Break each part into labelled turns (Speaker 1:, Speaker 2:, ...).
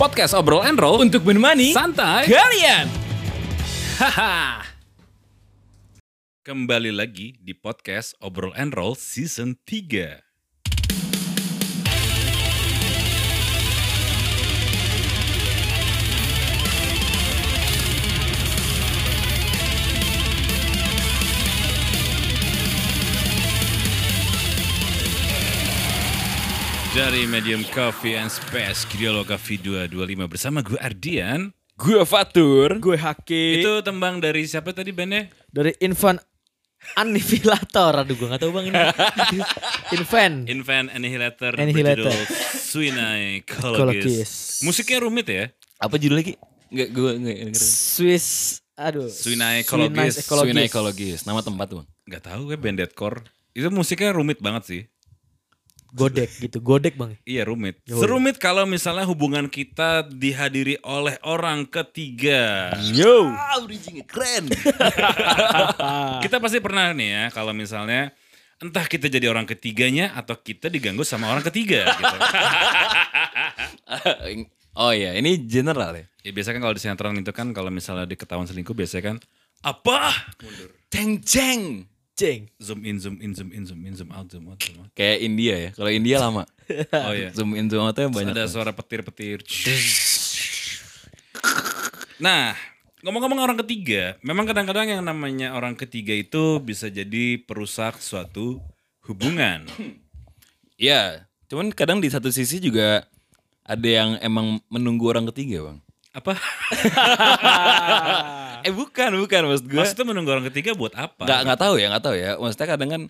Speaker 1: podcast obrol and roll
Speaker 2: untuk menemani
Speaker 1: santai
Speaker 2: kalian.
Speaker 1: Haha. Kembali lagi di podcast Obrol and Roll Season 3. Dari Medium Coffee and Space Kriologa V2 25 bersama gue Ardian.
Speaker 2: Gue Fatur. Gue Haki.
Speaker 1: Itu tembang dari siapa tadi bandnya?
Speaker 3: dari Infant Annihilator. Aduh gue gak tau bang ini. Infant.
Speaker 1: Invent Annihilator,
Speaker 3: Annihilator.
Speaker 1: berjudul Suinai
Speaker 3: Cologis.
Speaker 1: Cologis. Musiknya rumit ya.
Speaker 2: Apa judul lagi? Enggak, gue enggak denger.
Speaker 3: Swiss. Aduh.
Speaker 1: Swinai ekologis.
Speaker 3: Swinai ekologis.
Speaker 2: Swina Ekologis, nama tempat tuh.
Speaker 1: Gak tahu gue band deathcore. Itu musiknya rumit banget sih.
Speaker 3: Godek gitu. Godek bang.
Speaker 1: Iya rumit. Serumit kalau misalnya hubungan kita dihadiri oleh orang ketiga.
Speaker 2: Yo. Ah, bridging keren.
Speaker 1: Kita pasti pernah nih ya kalau misalnya entah kita jadi orang ketiganya atau kita diganggu sama orang ketiga gitu.
Speaker 2: oh iya, ini general ya.
Speaker 1: Ya biasanya kan kalau di sinetron itu kan kalau misalnya diketahuan selingkuh biasanya kan apa? Mundur.
Speaker 2: Ceng ceng.
Speaker 3: Ceng.
Speaker 1: Zoom in, zoom in, zoom in, zoom in, zoom out, zoom out, zoom out.
Speaker 2: Kayak India ya. Kalau India lama.
Speaker 1: Oh iya.
Speaker 2: Zoom in zoom outnya banyak.
Speaker 1: Ada suara petir-petir. Nah, ngomong-ngomong orang ketiga, memang kadang-kadang yang namanya orang ketiga itu bisa jadi perusak suatu hubungan.
Speaker 2: Iya, cuman kadang di satu sisi juga ada yang emang menunggu orang ketiga, Bang.
Speaker 1: Apa?
Speaker 2: Eh bukan, bukan maksud gue.
Speaker 1: Maksudnya menunggu orang ketiga buat apa?
Speaker 2: Nggak nggak tahu ya, nggak tahu ya. Maksudnya kadang kan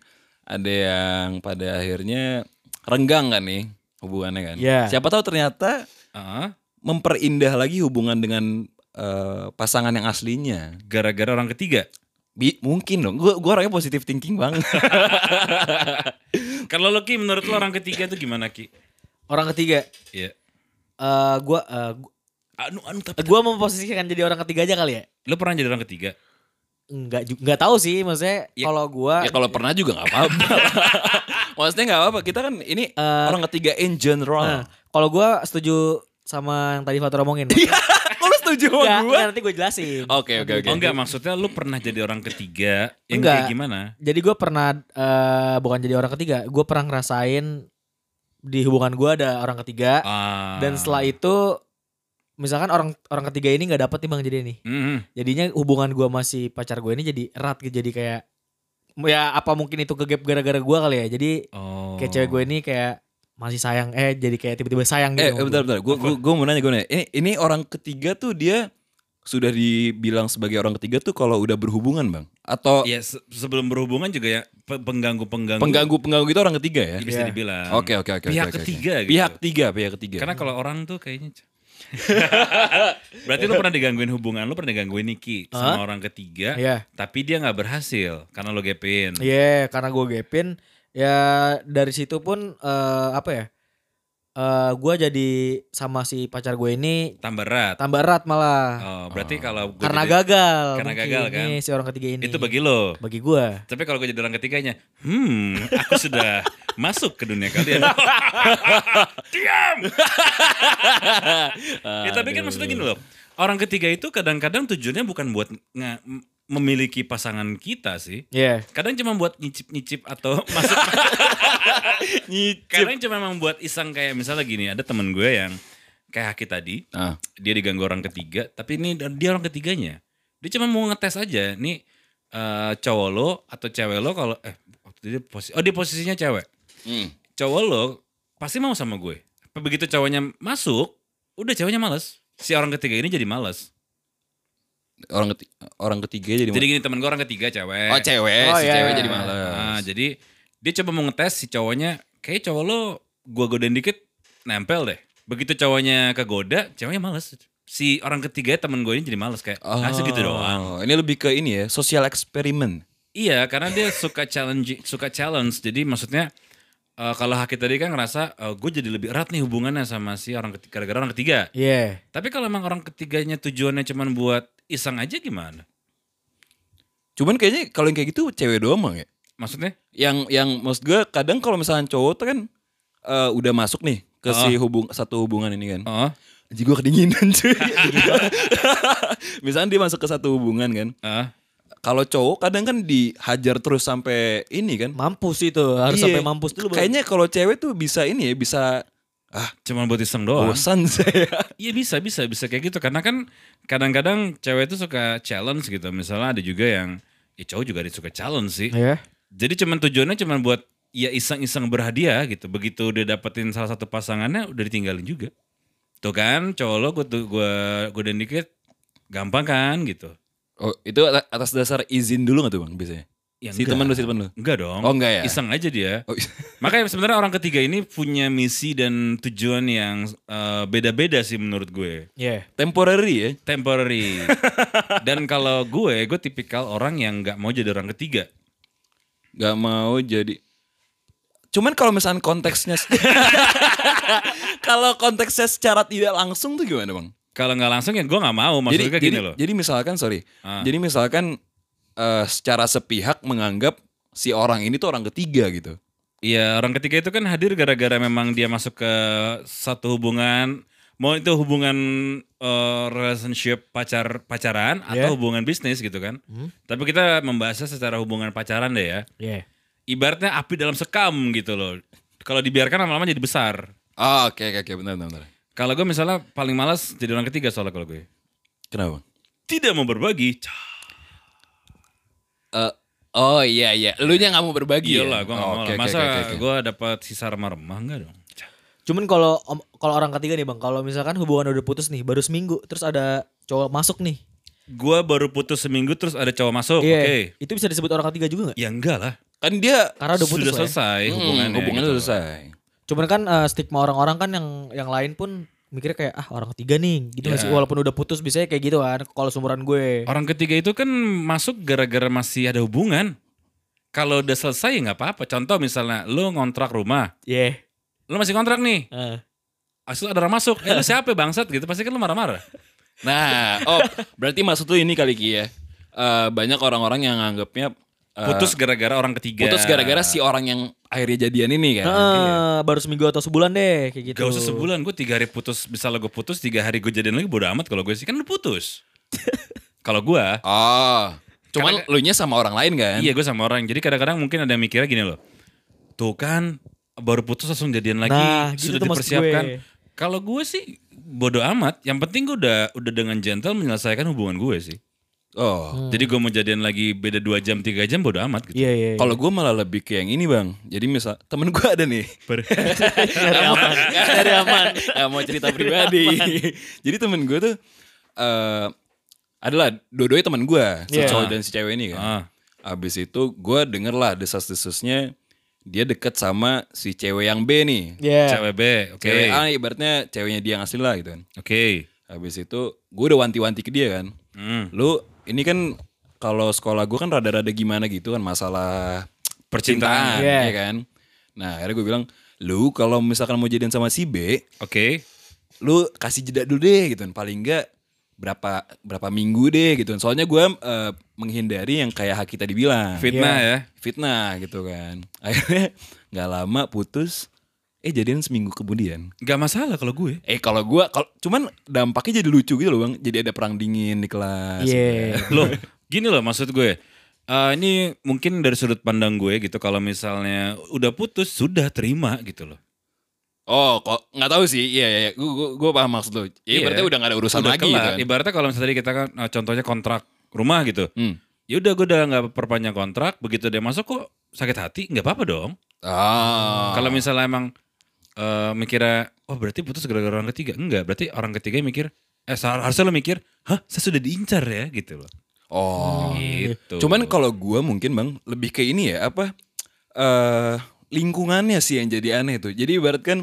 Speaker 2: ada yang pada akhirnya renggang kan nih hubungannya kan.
Speaker 3: Iya.
Speaker 2: Siapa tahu ternyata
Speaker 1: Ah,
Speaker 2: memperindah lagi hubungan dengan eh, pasangan yang aslinya.
Speaker 1: gara-gara orang ketiga.
Speaker 2: Bi mungkin dong. Gue gua orangnya positive thinking bang.
Speaker 1: Kalau lo Ki, menurut lo orang ketiga itu gimana Ki?
Speaker 3: Orang ketiga.
Speaker 1: Iya.
Speaker 3: Eh gua eh, gu-
Speaker 1: Anu, anu, tapi
Speaker 3: gua memposisikan jadi orang ketiga aja kali ya.
Speaker 1: lo pernah jadi orang ketiga?
Speaker 3: Enggak ju- enggak tahu sih maksudnya kalau gua
Speaker 2: ya kalau pernah juga nggak apa-apa. Maksudnya nggak apa-apa. Kita kan ini orang ketiga in
Speaker 3: Nah,
Speaker 2: general.
Speaker 3: kalau gua setuju sama yang tadi Fatur omongin. Iya,
Speaker 2: Kok lu setuju sama gue?
Speaker 3: nanti gue jelasin.
Speaker 2: Oke oke oke.
Speaker 1: Oh enggak, maksudnya lo pernah jadi orang ketiga yang
Speaker 3: Enggak.
Speaker 1: kayak gimana?
Speaker 3: Jadi gue pernah eh, bukan jadi orang ketiga, gue pernah ngerasain di hubungan gue ada orang ketiga
Speaker 1: Ah.
Speaker 3: dan setelah itu misalkan orang orang ketiga ini nggak dapet nih bang jadi nih.
Speaker 1: Mhm.
Speaker 3: Jadinya hubungan gue masih pacar gue ini jadi erat gitu jadi kayak ya apa mungkin itu kegap gara-gara gue kali ya. Jadi
Speaker 1: Oh.
Speaker 3: kayak cewek gue ini kayak masih sayang eh jadi kayak tiba-tiba sayang gitu.
Speaker 2: Eh,
Speaker 3: sama
Speaker 2: eh, bentar
Speaker 3: gua.
Speaker 2: bentar. Gue gue mau nanya gue nanya. Ini ini orang ketiga tuh dia sudah dibilang sebagai orang ketiga tuh kalau udah berhubungan bang atau
Speaker 1: Ya se- sebelum berhubungan juga ya pe- pengganggu-pengganggu
Speaker 2: pengganggu pengganggu itu orang ketiga ya?
Speaker 1: bisa
Speaker 3: Iya.
Speaker 1: dibilang.
Speaker 2: Oke oke oke.
Speaker 1: Pihak
Speaker 2: oke, oke,
Speaker 1: ketiga
Speaker 2: oke.
Speaker 1: gitu.
Speaker 2: Pihak ketiga pihak ketiga.
Speaker 1: Karena kalau orang tuh kayaknya Berarti lu pernah digangguin hubungan, lu pernah digangguin Niki sama orang ketiga,
Speaker 3: Iya.
Speaker 1: tapi dia nggak berhasil karena lu gepin.
Speaker 3: Iya, karena gue gapin ya dari situ pun eh, apa ya? Eh gue jadi sama si pacar gue ini
Speaker 1: Tambah erat.
Speaker 3: tambah erat malah
Speaker 1: Oh, berarti kalau gua
Speaker 3: karena
Speaker 1: jadi-
Speaker 3: gagal.
Speaker 1: karena
Speaker 3: mungkin
Speaker 1: gagal, kan?
Speaker 3: Ini si orang ketiga ini.
Speaker 1: itu bagi lo.
Speaker 3: bagi gue.
Speaker 1: Tapi kalau gue jadi orang ketiganya, hmm, aku sudah masuk ke dunia kalian. Diam. ya, tapi kan maksudnya gini loh. Orang ketiga itu kadang-kadang tujuannya bukan buat nge- memiliki pasangan kita sih.
Speaker 3: Iya.
Speaker 1: Kadang cuma buat nyicip-nyicip atau masuk. Kadang cuma membuat iseng kayak misalnya gini, ada temen gue yang kayak Haki tadi,
Speaker 2: Ah.
Speaker 1: dia diganggu orang ketiga, tapi ini dia orang ketiganya. Dia cuma mau ngetes aja, nih eh, cowok lo atau cewek lo kalau eh waktu itu dia posisi, oh dia posisinya cewek,
Speaker 2: Hmm.
Speaker 1: cowok lo pasti mau sama gue. Tapi Begitu cowoknya masuk, udah ceweknya males. Si orang ketiga ini jadi males.
Speaker 2: Orang ketiga, orang ketiga jadi,
Speaker 1: Jadi gini temen gue orang ketiga cewek.
Speaker 2: Oh cewek,
Speaker 3: Oh,
Speaker 2: si
Speaker 3: iya,
Speaker 2: cewek
Speaker 3: iya.
Speaker 2: jadi malas.
Speaker 1: Nah, jadi dia coba mau ngetes si cowoknya, kayak cowok lo gua godain dikit nempel deh. Begitu cowoknya kegoda, ceweknya males. Si orang ketiga temen gue ini jadi males kayak,
Speaker 2: Oh,
Speaker 1: ah segitu doang.
Speaker 2: Ini lebih ke ini ya, sosial eksperimen.
Speaker 1: Iya, karena dia suka challenge, suka challenge. Jadi maksudnya eh, kalau Haki tadi kan ngerasa gue jadi lebih erat nih hubungannya sama si orang ketiga, gara-gara orang ketiga.
Speaker 3: Iya.
Speaker 1: Tapi kalau emang orang ketiganya tujuannya cuma buat iseng aja gimana?
Speaker 2: Cuman kayaknya kalau yang kayak gitu cewek doang Bang, ya.
Speaker 1: Maksudnya?
Speaker 2: Yang yang maksud gue kadang Oh. kalau misalnya cowok tuh kan eh, udah masuk nih ke si hubung satu hubungan ini kan.
Speaker 1: Oh,
Speaker 2: Anjir gue kedinginan cuy. Misalnya dia masuk ke satu hubungan kan.
Speaker 1: Heeh.
Speaker 2: Kalau cowok kadang kan dihajar terus sampai ini kan.
Speaker 3: Mampus itu harus
Speaker 2: Iya.
Speaker 3: sampai mampus dulu. baru-
Speaker 2: Kayaknya kalau cewek tuh bisa ini ya, bisa
Speaker 1: Cuman buat iseng doang.
Speaker 2: bosan saya.
Speaker 1: Iya bisa bisa bisa kayak gitu karena kan kadang-kadang cewek itu suka challenge gitu. Misalnya ada juga yang ya cowok juga ada yang suka challenge sih.
Speaker 3: Iya.
Speaker 1: Jadi cuman tujuannya cuman buat ya iseng-iseng berhadiah gitu. Begitu udah dapetin salah satu pasangannya udah ditinggalin juga. Tuh kan cowok lo gue tuh gue godain dikit gampang kan gitu.
Speaker 2: Oh, itu at- atas dasar izin dulu gak tuh bang biasanya?
Speaker 1: Ya,
Speaker 2: si
Speaker 1: enggak.
Speaker 2: teman lu, si teman lu.
Speaker 1: Enggak dong.
Speaker 2: Oh, enggak ya?
Speaker 1: Iseng aja dia.
Speaker 2: Oh, is-
Speaker 1: Makanya sebenarnya orang ketiga ini punya misi dan tujuan yang eh, beda-beda sih menurut gue.
Speaker 3: Iya.
Speaker 2: Temporary ya.
Speaker 1: Temporary. dan kalau gue, gue tipikal orang yang nggak mau jadi orang ketiga.
Speaker 2: Gak mau jadi. Cuman kalau misalnya konteksnya kalau konteksnya secara tidak langsung tuh gimana bang?
Speaker 1: Kalau nggak langsung ya gue nggak mau.
Speaker 2: jadi,
Speaker 1: Maksudnya
Speaker 2: jadi,
Speaker 1: gini loh.
Speaker 2: jadi misalkan sorry,
Speaker 1: Ah.
Speaker 2: jadi misalkan eh, secara sepihak menganggap si orang ini tuh orang ketiga gitu.
Speaker 1: Iya orang ketiga itu kan hadir gara-gara memang dia masuk ke satu hubungan mau itu hubungan eh, relationship pacar pacaran
Speaker 3: Yeah.
Speaker 2: Iya.
Speaker 1: atau hubungan bisnis gitu kan.
Speaker 2: Hmm.
Speaker 1: Tapi kita membahasnya secara hubungan pacaran deh ya.
Speaker 3: Iya.
Speaker 1: Ibaratnya api dalam sekam gitu loh. Kalau dibiarkan lama-lama jadi besar.
Speaker 2: Ah, oke oke oke benar benar. benar.
Speaker 1: Kalau gue misalnya paling malas jadi orang ketiga soalnya kalau gue
Speaker 2: Kenapa? Bang?
Speaker 1: tidak mau berbagi. Cah,
Speaker 2: Eh, oh iya iya, lu nya nggak mau berbagi. ya?
Speaker 1: Iyalah gue nggak
Speaker 2: Oh,
Speaker 1: mau
Speaker 2: oke,
Speaker 1: Iya lah.
Speaker 2: oke,
Speaker 1: Masa
Speaker 2: oke, oke.
Speaker 1: gue dapat sisa remah-remah enggak dong. Cah.
Speaker 3: Cuman kalau om- kalau orang ketiga nih bang, kalau misalkan hubungan udah putus nih, baru seminggu, terus ada cowok masuk nih,
Speaker 1: Gue baru putus seminggu terus ada cowok masuk.
Speaker 3: Iya.
Speaker 1: Oh, Oke.
Speaker 3: itu bisa disebut orang ketiga juga nggak?
Speaker 1: Ya enggak lah.
Speaker 2: kan dia
Speaker 3: Karena udah putus
Speaker 1: Sudah
Speaker 3: lah ya.
Speaker 1: selesai
Speaker 2: hmm,
Speaker 1: hubungannya.
Speaker 2: hubungannya
Speaker 1: gitu.
Speaker 2: selesai.
Speaker 3: Cuman kan eh, stigma orang-orang kan yang yang lain pun mikirnya kayak ah orang ketiga nih, gitu nggak sih?
Speaker 1: Iya.
Speaker 3: Walaupun udah putus biasanya kayak gitu kan, kalau sumuran gue.
Speaker 1: Orang ketiga itu kan masuk gara-gara masih ada hubungan. Kalau udah selesai ya nggak apa-apa. Contoh misalnya lu ngontrak rumah,
Speaker 3: Iya.
Speaker 1: lu masih kontrak nih,
Speaker 3: Heeh.
Speaker 1: asal ada orang masuk, eh lu siapa ya, bangsat gitu, pasti kan lu marah-marah.
Speaker 2: Nah, oh berarti maksud tuh ini kali Ki ya. Eh, banyak orang-orang yang anggapnya
Speaker 1: Putus gara-gara orang ketiga.
Speaker 2: Eh. putus gara-gara si orang yang akhirnya jadian ini kan.
Speaker 3: Heeh, baru seminggu atau sebulan deh kayak gitu.
Speaker 1: Ya, Gak usah sebulan, gue tiga hari putus, misalnya gue putus, tiga hari gue jadian lagi bodo amat kalau gue sih, kan lu putus. kalau gue,
Speaker 2: Oh, cuman lu nya sama orang lain kan?
Speaker 1: iya gue sama orang, jadi kadang-kadang mungkin ada yang mikirnya gini loh, tuh kan baru putus langsung jadian lagi,
Speaker 3: Nah, gitu
Speaker 1: sudah
Speaker 3: tuh maksud
Speaker 1: dipersiapkan.
Speaker 3: gue.
Speaker 1: Kalau gue sih bodo amat, yang penting gue udah, udah dengan gentle menyelesaikan hubungan gue sih.
Speaker 2: Oh,
Speaker 1: Jadi gue mau jadian lagi beda dua jam tiga jam bodo amat gitu.
Speaker 3: Iya iya.
Speaker 2: Kalau gue malah lebih ke yang ini bang. Jadi misal temen gue ada nih.
Speaker 3: Cari aman, cari aman.
Speaker 2: Nggak mau cerita pribadi. Jadi temen gue tuh eh adalah dua-duanya temen gue, si
Speaker 3: Iya.
Speaker 2: cowok dan si cewek ini kan.
Speaker 1: Ah.
Speaker 2: Abis itu gue denger lah desas-desusnya dia deket sama si cewek yang B nih.
Speaker 3: Iya.
Speaker 1: Cewek B, oke,
Speaker 2: Cewek A ibaratnya ceweknya dia yang asli lah gitu kan.
Speaker 1: oke.
Speaker 2: Habis itu gue udah wanti-wanti ke dia kan.
Speaker 1: Hmm.
Speaker 2: Lu ini kan kalau sekolah gue kan rada-rada gimana gitu kan masalah
Speaker 1: Percintaan.
Speaker 2: percintaan,
Speaker 3: Iya.
Speaker 2: ya kan. Nah akhirnya gue bilang, lu kalau misalkan mau jadian sama si B,
Speaker 1: Oke,
Speaker 2: lu kasih jeda dulu deh gitu kan. Paling enggak berapa berapa minggu deh gitu kan. Soalnya gue eh, menghindari yang kayak Haki tadi bilang.
Speaker 1: fitnah ya.
Speaker 2: Fitnah gitu kan. Akhirnya nggak lama putus, eh jadian seminggu kemudian.
Speaker 1: ya. Gak masalah kalau gue.
Speaker 2: Eh kalau gua kalau cuman dampaknya jadi lucu gitu loh Bang. Jadi ada perang dingin di kelas.
Speaker 3: Iya.
Speaker 1: loh gini loh maksud gue Eh, ini mungkin dari sudut pandang gue gitu kalau misalnya udah putus sudah terima gitu loh
Speaker 2: Oh, kok nggak tahu sih. Iya, iya, iya. Gua, gua, gua paham maksud lo. Iya,
Speaker 1: Iya.
Speaker 2: berarti udah nggak ada urusan
Speaker 1: Udah
Speaker 2: lagi
Speaker 1: kelar.
Speaker 2: gitu kan.
Speaker 1: ibaratnya kalau misalnya tadi kita kan eh, contohnya kontrak rumah gitu
Speaker 2: Hmm.
Speaker 1: ya udah gue udah nggak perpanjang kontrak begitu dia masuk kok sakit hati nggak apa-apa dong
Speaker 2: Ah.
Speaker 1: kalau misalnya emang eh mikirnya oh berarti putus gara-gara orang ketiga enggak berarti orang ketiga mikir eh sehar- harusnya lo mikir hah saya sudah diincar ya gitu loh
Speaker 2: Oh.
Speaker 1: gitu
Speaker 2: Cuman kalau gua mungkin Bang lebih ke ini ya apa eh lingkungannya sih yang jadi aneh tuh. Jadi ibarat kan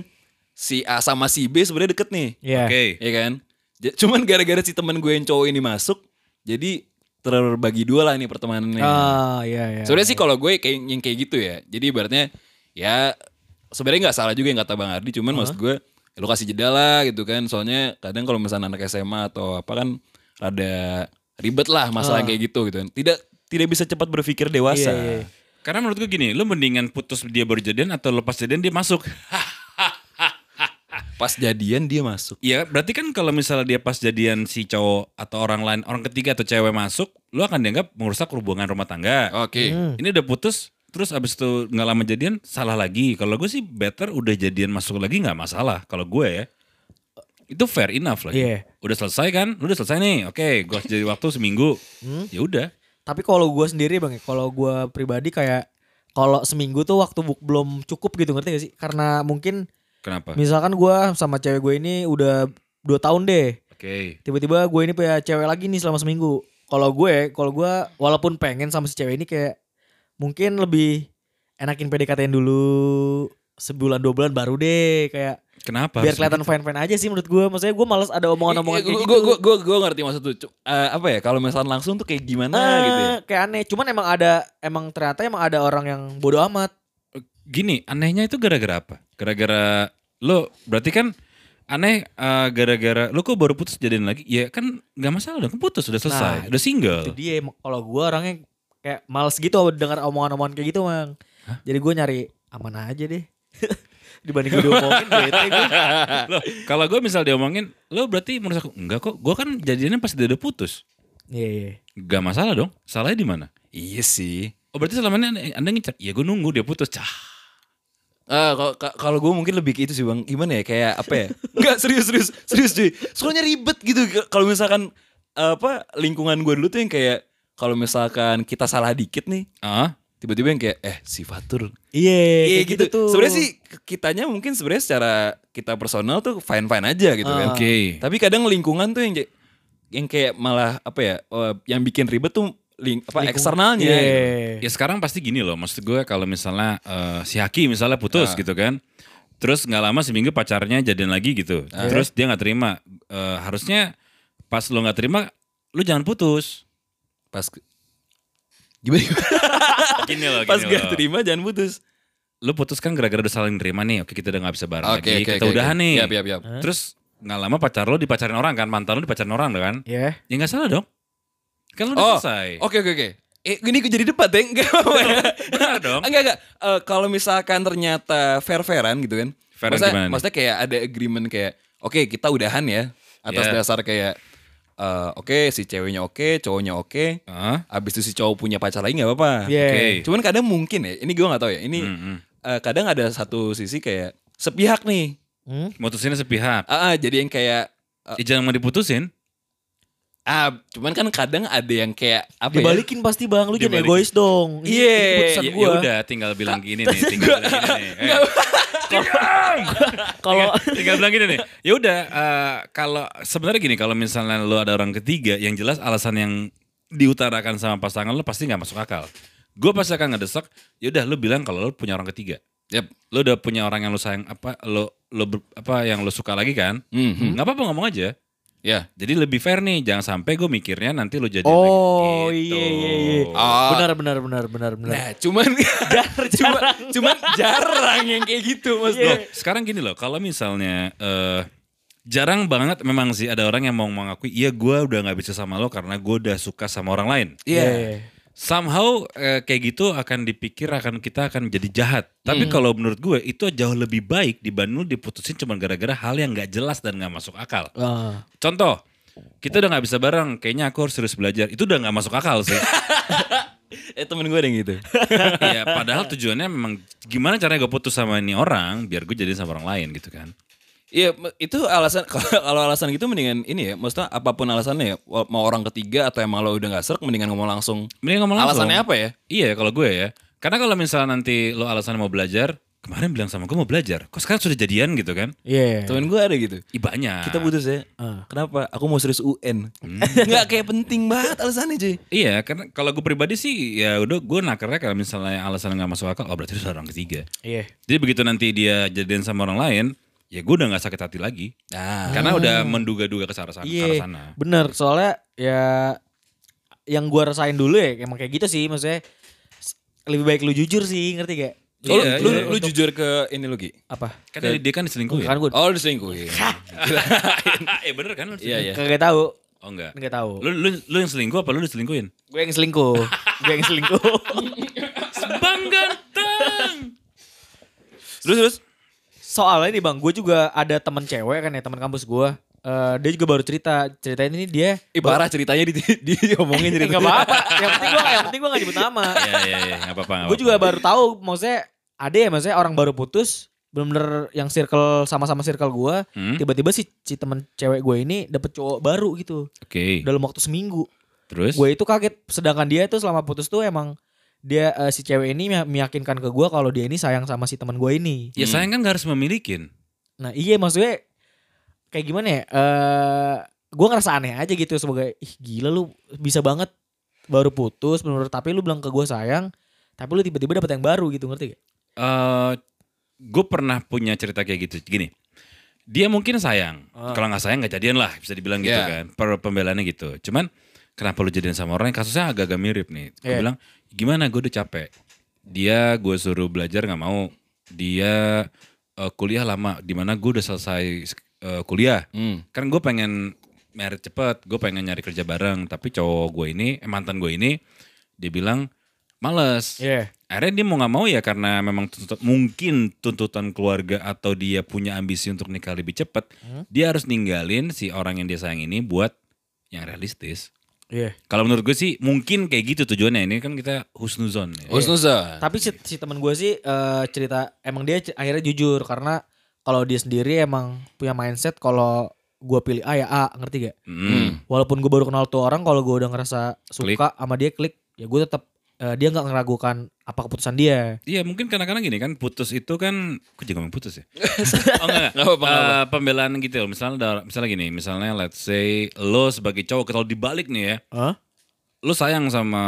Speaker 2: si A sama si B sebenarnya deket nih.
Speaker 3: Iya.
Speaker 1: oke
Speaker 2: Iya kan? J- Cuman gara-gara si teman gue yang cowok ini masuk, jadi terbagi dua lah nih pertemanannya.
Speaker 3: Ah, iya iya.
Speaker 2: Sebenarnya sih kalau gue kayak yang kayak gitu ya. Jadi ibaratnya ya sebenarnya nggak salah juga yang kata Bang Ardi, cuman maksud gue ya lu kasih jeda lah gitu kan. Soalnya kadang kalau misalnya anak SMA atau apa kan rada ribet lah masalah kayak gitu gitu kan. Tidak tidak bisa cepat berpikir dewasa.
Speaker 3: Iya, iya.
Speaker 1: Karena menurut gue gini, lu mendingan putus dia baru jadian atau lepas jadian dia masuk.
Speaker 2: Pas jadian dia masuk.
Speaker 1: Iya, berarti kan kalau misalnya dia pas jadian si cowok atau orang lain, orang ketiga atau cewek masuk, lu akan dianggap merusak hubungan rumah tangga.
Speaker 2: Oke.
Speaker 3: Hmm,
Speaker 1: Ini udah putus, terus abis itu nggak lama jadian, salah lagi. Kalau gue sih better udah jadian masuk lagi nggak masalah. Kalau gue ya, itu fair enough lagi.
Speaker 3: Iya.
Speaker 1: Udah selesai kan? Lu udah selesai nih. Oke, gue jadi waktu seminggu.
Speaker 3: Hmm.
Speaker 1: Ya udah.
Speaker 3: Tapi kalau gue sendiri bang, ya, kalau gue pribadi kayak kalau seminggu tuh waktu bu- belum cukup gitu ngerti gak sih? Karena mungkin
Speaker 1: Kenapa? Oke.
Speaker 3: misalkan gue sama cewek gue ini udah dua tahun deh. Tiba-tiba gue ini punya cewek lagi nih selama seminggu. Kalau gue, kalau gue walaupun pengen sama si cewek ini kayak mungkin lebih enakin PDKT-in dulu sebulan dua bulan baru deh kayak
Speaker 1: Kenapa?
Speaker 3: biar
Speaker 1: harus
Speaker 3: kelihatan
Speaker 2: gitu.
Speaker 3: fine fine aja sih menurut gue. Maksudnya gue males ada omongan-omongan kayak
Speaker 2: Gue
Speaker 3: gitu.
Speaker 2: gue gue gue ngerti maksud tuh. Cu- eh, apa ya kalau misalnya langsung tuh kayak gimana
Speaker 3: Ah,
Speaker 2: gitu ya.
Speaker 3: Kayak aneh. Cuman emang ada emang ternyata emang ada orang yang bodoh amat.
Speaker 1: gini anehnya itu gara-gara apa? Gara-gara lo berarti kan aneh eh, gara-gara lo kok baru putus jadian lagi? Ya kan nggak masalah dong, kan putus udah selesai,
Speaker 3: Nah,
Speaker 1: udah single.
Speaker 3: Itu dia em- kalau gue orangnya kayak males gitu dengar omongan-omongan kayak gitu, Mang. Jadi gue nyari aman aja deh. Dibanding gue diomongin bete gue.
Speaker 1: Loh, kalau gue misal diomongin, lo berarti menurut aku enggak kok, gue kan jadiannya pas dia udah putus,
Speaker 3: Iya, iya.
Speaker 1: nggak masalah dong. Salahnya di mana?
Speaker 2: Iya sih.
Speaker 1: Oh berarti selama ini anda, anda ngecek, ya gue nunggu dia putus, cah.
Speaker 2: Eh, kalau kalau gue mungkin lebih ke itu sih bang, gimana ya kayak apa ya? Enggak serius serius serius cuy. Soalnya ribet gitu. Kalau misalkan eh, apa lingkungan gue dulu tuh yang kayak kalau misalkan kita salah dikit nih,
Speaker 1: Ah,
Speaker 2: tiba-tiba yang kayak eh si Fatur.
Speaker 3: Iya,
Speaker 2: Iya
Speaker 3: kayak
Speaker 2: gitu. tuh. Sebenarnya sih kitanya mungkin sebenarnya secara kita personal tuh fine fine aja gitu
Speaker 3: Ah.
Speaker 2: kan.
Speaker 1: oke.
Speaker 2: Tapi kadang lingkungan tuh yang kayak- yang kayak malah apa ya? eh, yang bikin ribet tuh ling, apa
Speaker 3: Lingkungan.
Speaker 2: eksternalnya.
Speaker 3: Iya.
Speaker 1: Ya
Speaker 2: gitu.
Speaker 1: sekarang pasti gini loh, maksud gue kalau misalnya eh, si Haki misalnya putus
Speaker 2: Ah.
Speaker 1: gitu kan, terus nggak lama seminggu pacarnya jadian lagi gitu,
Speaker 2: Ah.
Speaker 1: terus dia nggak terima, Eh, harusnya pas lo nggak terima, lo jangan putus.
Speaker 2: Pas ke- gimana? gimana?
Speaker 1: Gini loh,
Speaker 2: Pas
Speaker 1: gini
Speaker 2: gak
Speaker 1: loh.
Speaker 2: terima jangan putus.
Speaker 1: Lo putus kan gara-gara udah saling terima nih, oke kita udah nggak bisa bareng
Speaker 2: Oke,
Speaker 1: lagi,
Speaker 2: oke,
Speaker 1: kita
Speaker 2: oke,
Speaker 1: udahan
Speaker 2: oke.
Speaker 1: nih.
Speaker 2: Yap, yap, yap.
Speaker 1: Terus nggak lama pacar lo dipacarin orang kan, mantan lo dipacarin orang kan,
Speaker 3: Iya.
Speaker 1: ya nggak salah dong. Kan lo udah
Speaker 2: Oh,
Speaker 1: selesai.
Speaker 2: Oke oke oke. Eh ini jadi debat ya? Enggak apa-apa ya.
Speaker 1: Benar dong.
Speaker 2: Enggak enggak. Eh, kalau misalkan ternyata fair-fairan gitu kan.
Speaker 1: Fairan
Speaker 2: maksudnya,
Speaker 1: gimana nih?
Speaker 2: maksudnya kayak ada agreement kayak oke kita udahan ya atas
Speaker 1: Yeah.
Speaker 2: dasar kayak eh, oke si ceweknya oke, cowoknya oke.
Speaker 1: Ah,
Speaker 2: Abis itu si cowok punya pacar lagi nggak apa-apa.
Speaker 3: Iya.
Speaker 1: Oke. Hmm,
Speaker 2: Cuman kadang mungkin ya, ini gua nggak tahu ya. Ini eh, kadang ada satu sisi kayak sepihak nih.
Speaker 3: Hmm?
Speaker 1: Mutusinnya sepihak.
Speaker 2: Ah, ah, jadi yang kayak
Speaker 1: Ya, jangan mau diputusin.
Speaker 2: ah cuman kan kadang ada yang kayak apa ya?
Speaker 3: Dibalikin pasti Bang, lu jangan
Speaker 1: Dibalikin.
Speaker 3: egois dong. Ini-
Speaker 2: Iya.
Speaker 3: ini keputusan
Speaker 1: Ya, ya
Speaker 3: gua.
Speaker 1: udah tinggal bilang gini nih, tinggal bilang gini nih. Eh,
Speaker 2: Iya.
Speaker 3: Kalau
Speaker 1: tinggal- tinggal bilang gini nih. Ya udah eh, kalau sebenarnya gini kalau misalnya lo ada orang ketiga yang jelas alasan yang diutarakan sama pasangan lo pasti nggak masuk akal. Gue pasti akan ngedesak, ya udah lo bilang kalau lo punya orang ketiga.
Speaker 2: Yap.
Speaker 1: Lo udah punya orang yang lo sayang apa lo lo ber- apa yang lo suka lagi kan?
Speaker 3: Hmm.
Speaker 2: Mhm.
Speaker 1: nggak apa-apa ngomong aja.
Speaker 2: Ya.
Speaker 1: Jadi lebih fair nih, jangan sampai gue mikirnya nanti lo jadi
Speaker 3: Oh
Speaker 1: lagi.
Speaker 3: iya iya iya.
Speaker 1: Iya, Gitu.
Speaker 2: Ah.
Speaker 3: Benar benar benar benar benar.
Speaker 2: Nah, cuman cuman, cuman jarang yang kayak gitu Mas
Speaker 3: Iya.
Speaker 1: Loh,
Speaker 2: Dok.
Speaker 1: sekarang gini loh, kalau misalnya eh jarang banget memang sih ada orang yang mau mengakui, iya gue udah nggak bisa sama lo karena gue udah suka sama orang lain.
Speaker 3: Iya.
Speaker 1: Somehow eh, kayak gitu akan dipikir akan kita akan jadi jahat.
Speaker 3: Hmm.
Speaker 1: Tapi kalau menurut gue itu jauh lebih baik dibanding lu diputusin cuma gara-gara hal yang nggak jelas dan nggak masuk akal.
Speaker 3: Ah.
Speaker 1: Contoh, kita udah nggak bisa bareng, kayaknya aku harus serius belajar. Itu udah nggak masuk akal sih.
Speaker 2: Eh temen gue ada yang gitu.
Speaker 1: Iya, padahal tujuannya memang gimana caranya gue putus sama ini orang biar gue jadi sama orang lain gitu kan.
Speaker 2: Iya, me- itu alasan kalau kalau alasan gitu mendingan ini ya, maksudnya apapun alasannya ya, wa- mau orang ketiga atau emang lo udah gak serk mendingan ngomong langsung.
Speaker 1: Mending ngomong langsung.
Speaker 2: Alasannya apa ya?
Speaker 1: Iya kalau gue ya. Karena kalau misalnya nanti lo alasan mau belajar, kemarin bilang sama gue mau belajar. Kok sekarang sudah jadian gitu kan?
Speaker 3: Iya.
Speaker 2: Temen gue ada gitu.
Speaker 1: Ih banyak.
Speaker 2: Kita putus ya. Kenapa? Aku mau serius UN. Nggak kayak penting banget alasannya, cuy.
Speaker 1: Iya, karena kalau gue pribadi sih ya udah gue nakernya kalau misalnya alasan nggak masuk akal, oh berarti itu orang ketiga.
Speaker 3: Iya.
Speaker 1: Jadi begitu nanti dia jadian sama orang lain, ya gue udah nggak sakit hati lagi.
Speaker 2: Nah,
Speaker 1: Karena udah menduga-duga ke arah sana. ke arah
Speaker 3: Iya,
Speaker 1: sana.
Speaker 3: bener. Soalnya ya yang gua rasain dulu ya emang kayak gitu sih maksudnya s- lebih baik lu jujur sih ngerti gak?
Speaker 2: lu,
Speaker 1: Iya,
Speaker 2: lu,
Speaker 1: iya.
Speaker 2: lu jujur ke ini lo Gi.
Speaker 3: Apa?
Speaker 1: Kan dia, dia kan diselingkuhin.
Speaker 3: Kan gua
Speaker 2: Oh, lu selingkuh.
Speaker 1: eh bener kan? lu
Speaker 2: Iya,
Speaker 1: diselingkuhin?
Speaker 2: iya.
Speaker 3: kagak tahu,
Speaker 1: Oh enggak.
Speaker 3: nggak tahu.
Speaker 1: Lu, lu, lu yang selingkuh apa lu diselingkuhin?
Speaker 3: Gue yang selingkuh, gue yang selingkuh.
Speaker 1: Bang ganteng.
Speaker 2: Terus terus.
Speaker 3: soalnya nih bang, gue juga ada teman cewek kan ya teman kampus gue. Eh, dia juga baru cerita ceritain ini dia.
Speaker 2: Ih parah ceritanya di, di diomongin
Speaker 3: Eh,
Speaker 2: cerita.
Speaker 3: nggak apa-apa. yang penting gue yang penting gue nggak nyebut nama.
Speaker 1: Iya, iya, iya. Gak apa-apa. nggak
Speaker 3: gue juga
Speaker 1: apa-apa.
Speaker 3: baru tahu maksudnya ada ya maksudnya orang baru putus bener-bener yang circle sama-sama circle gue
Speaker 1: Hmm?
Speaker 3: tiba-tiba si, si temen cewek gue ini dapet cowok baru gitu
Speaker 1: Oke.
Speaker 3: dalam waktu seminggu
Speaker 1: Terus?
Speaker 3: gue itu kaget sedangkan dia itu selama putus tuh emang dia eh, si cewek ini meya- meyakinkan ke gue kalau dia ini sayang sama si teman gue ini
Speaker 1: Ya sayang kan gak harus memilikin.
Speaker 3: nah iya maksudnya kayak gimana ya eh gue ngerasa aneh aja gitu sebagai ih gila lu bisa banget baru putus bener-bener tapi lu bilang ke gue sayang tapi lu tiba-tiba dapet yang baru gitu ngerti gak?
Speaker 1: eh gue pernah punya cerita kayak gitu. Gini, dia mungkin sayang.
Speaker 3: Ah. Iya.
Speaker 1: Kalau nggak sayang nggak jadian lah, bisa dibilang gitu
Speaker 2: Yeah.
Speaker 1: kan. Per pembelaannya gitu. Cuman kenapa lu jadian sama orang yang kasusnya agak-agak mirip nih. Gue
Speaker 3: Iya.
Speaker 1: bilang, gimana gue udah capek. Dia gue suruh belajar nggak mau. Dia eh, kuliah lama, dimana gue udah selesai eh, kuliah.
Speaker 2: Hmm.
Speaker 1: Kan gue pengen merit cepet, gue pengen nyari kerja bareng. Tapi cowok gue ini, eh, mantan gue ini, dia bilang males
Speaker 3: Iya.
Speaker 1: akhirnya dia mau nggak mau ya karena memang tuntut- mungkin tuntutan keluarga atau dia punya ambisi untuk nikah lebih cepat dia harus ninggalin si orang yang dia sayang ini buat yang realistis
Speaker 3: Iya.
Speaker 1: kalau menurut gue sih mungkin kayak gitu tujuannya ini kan kita husnuzon ya.
Speaker 2: Husnuzon.
Speaker 3: Tapi si, si teman gue sih eh, cerita emang dia c- akhirnya jujur karena kalau dia sendiri emang punya mindset kalau gue pilih A ya A, ngerti gak?
Speaker 1: Mm.
Speaker 3: Walaupun gue baru kenal tuh orang, kalau gue udah ngerasa suka
Speaker 1: Klik.
Speaker 3: sama dia klik, ya gue tetap eh, dia nggak ngeragukan apa keputusan dia.
Speaker 1: Iya mungkin kadang-kadang gini kan putus itu kan, aku juga ngomong putus ya. oh enggak, enggak.
Speaker 2: Nggak apa-apa, nggak
Speaker 1: Eh, pembelaan gitu loh. Misalnya, ada- misalnya gini, misalnya let's say lo sebagai cowok kalau dibalik nih ya,
Speaker 3: Hah?
Speaker 1: lu sayang sama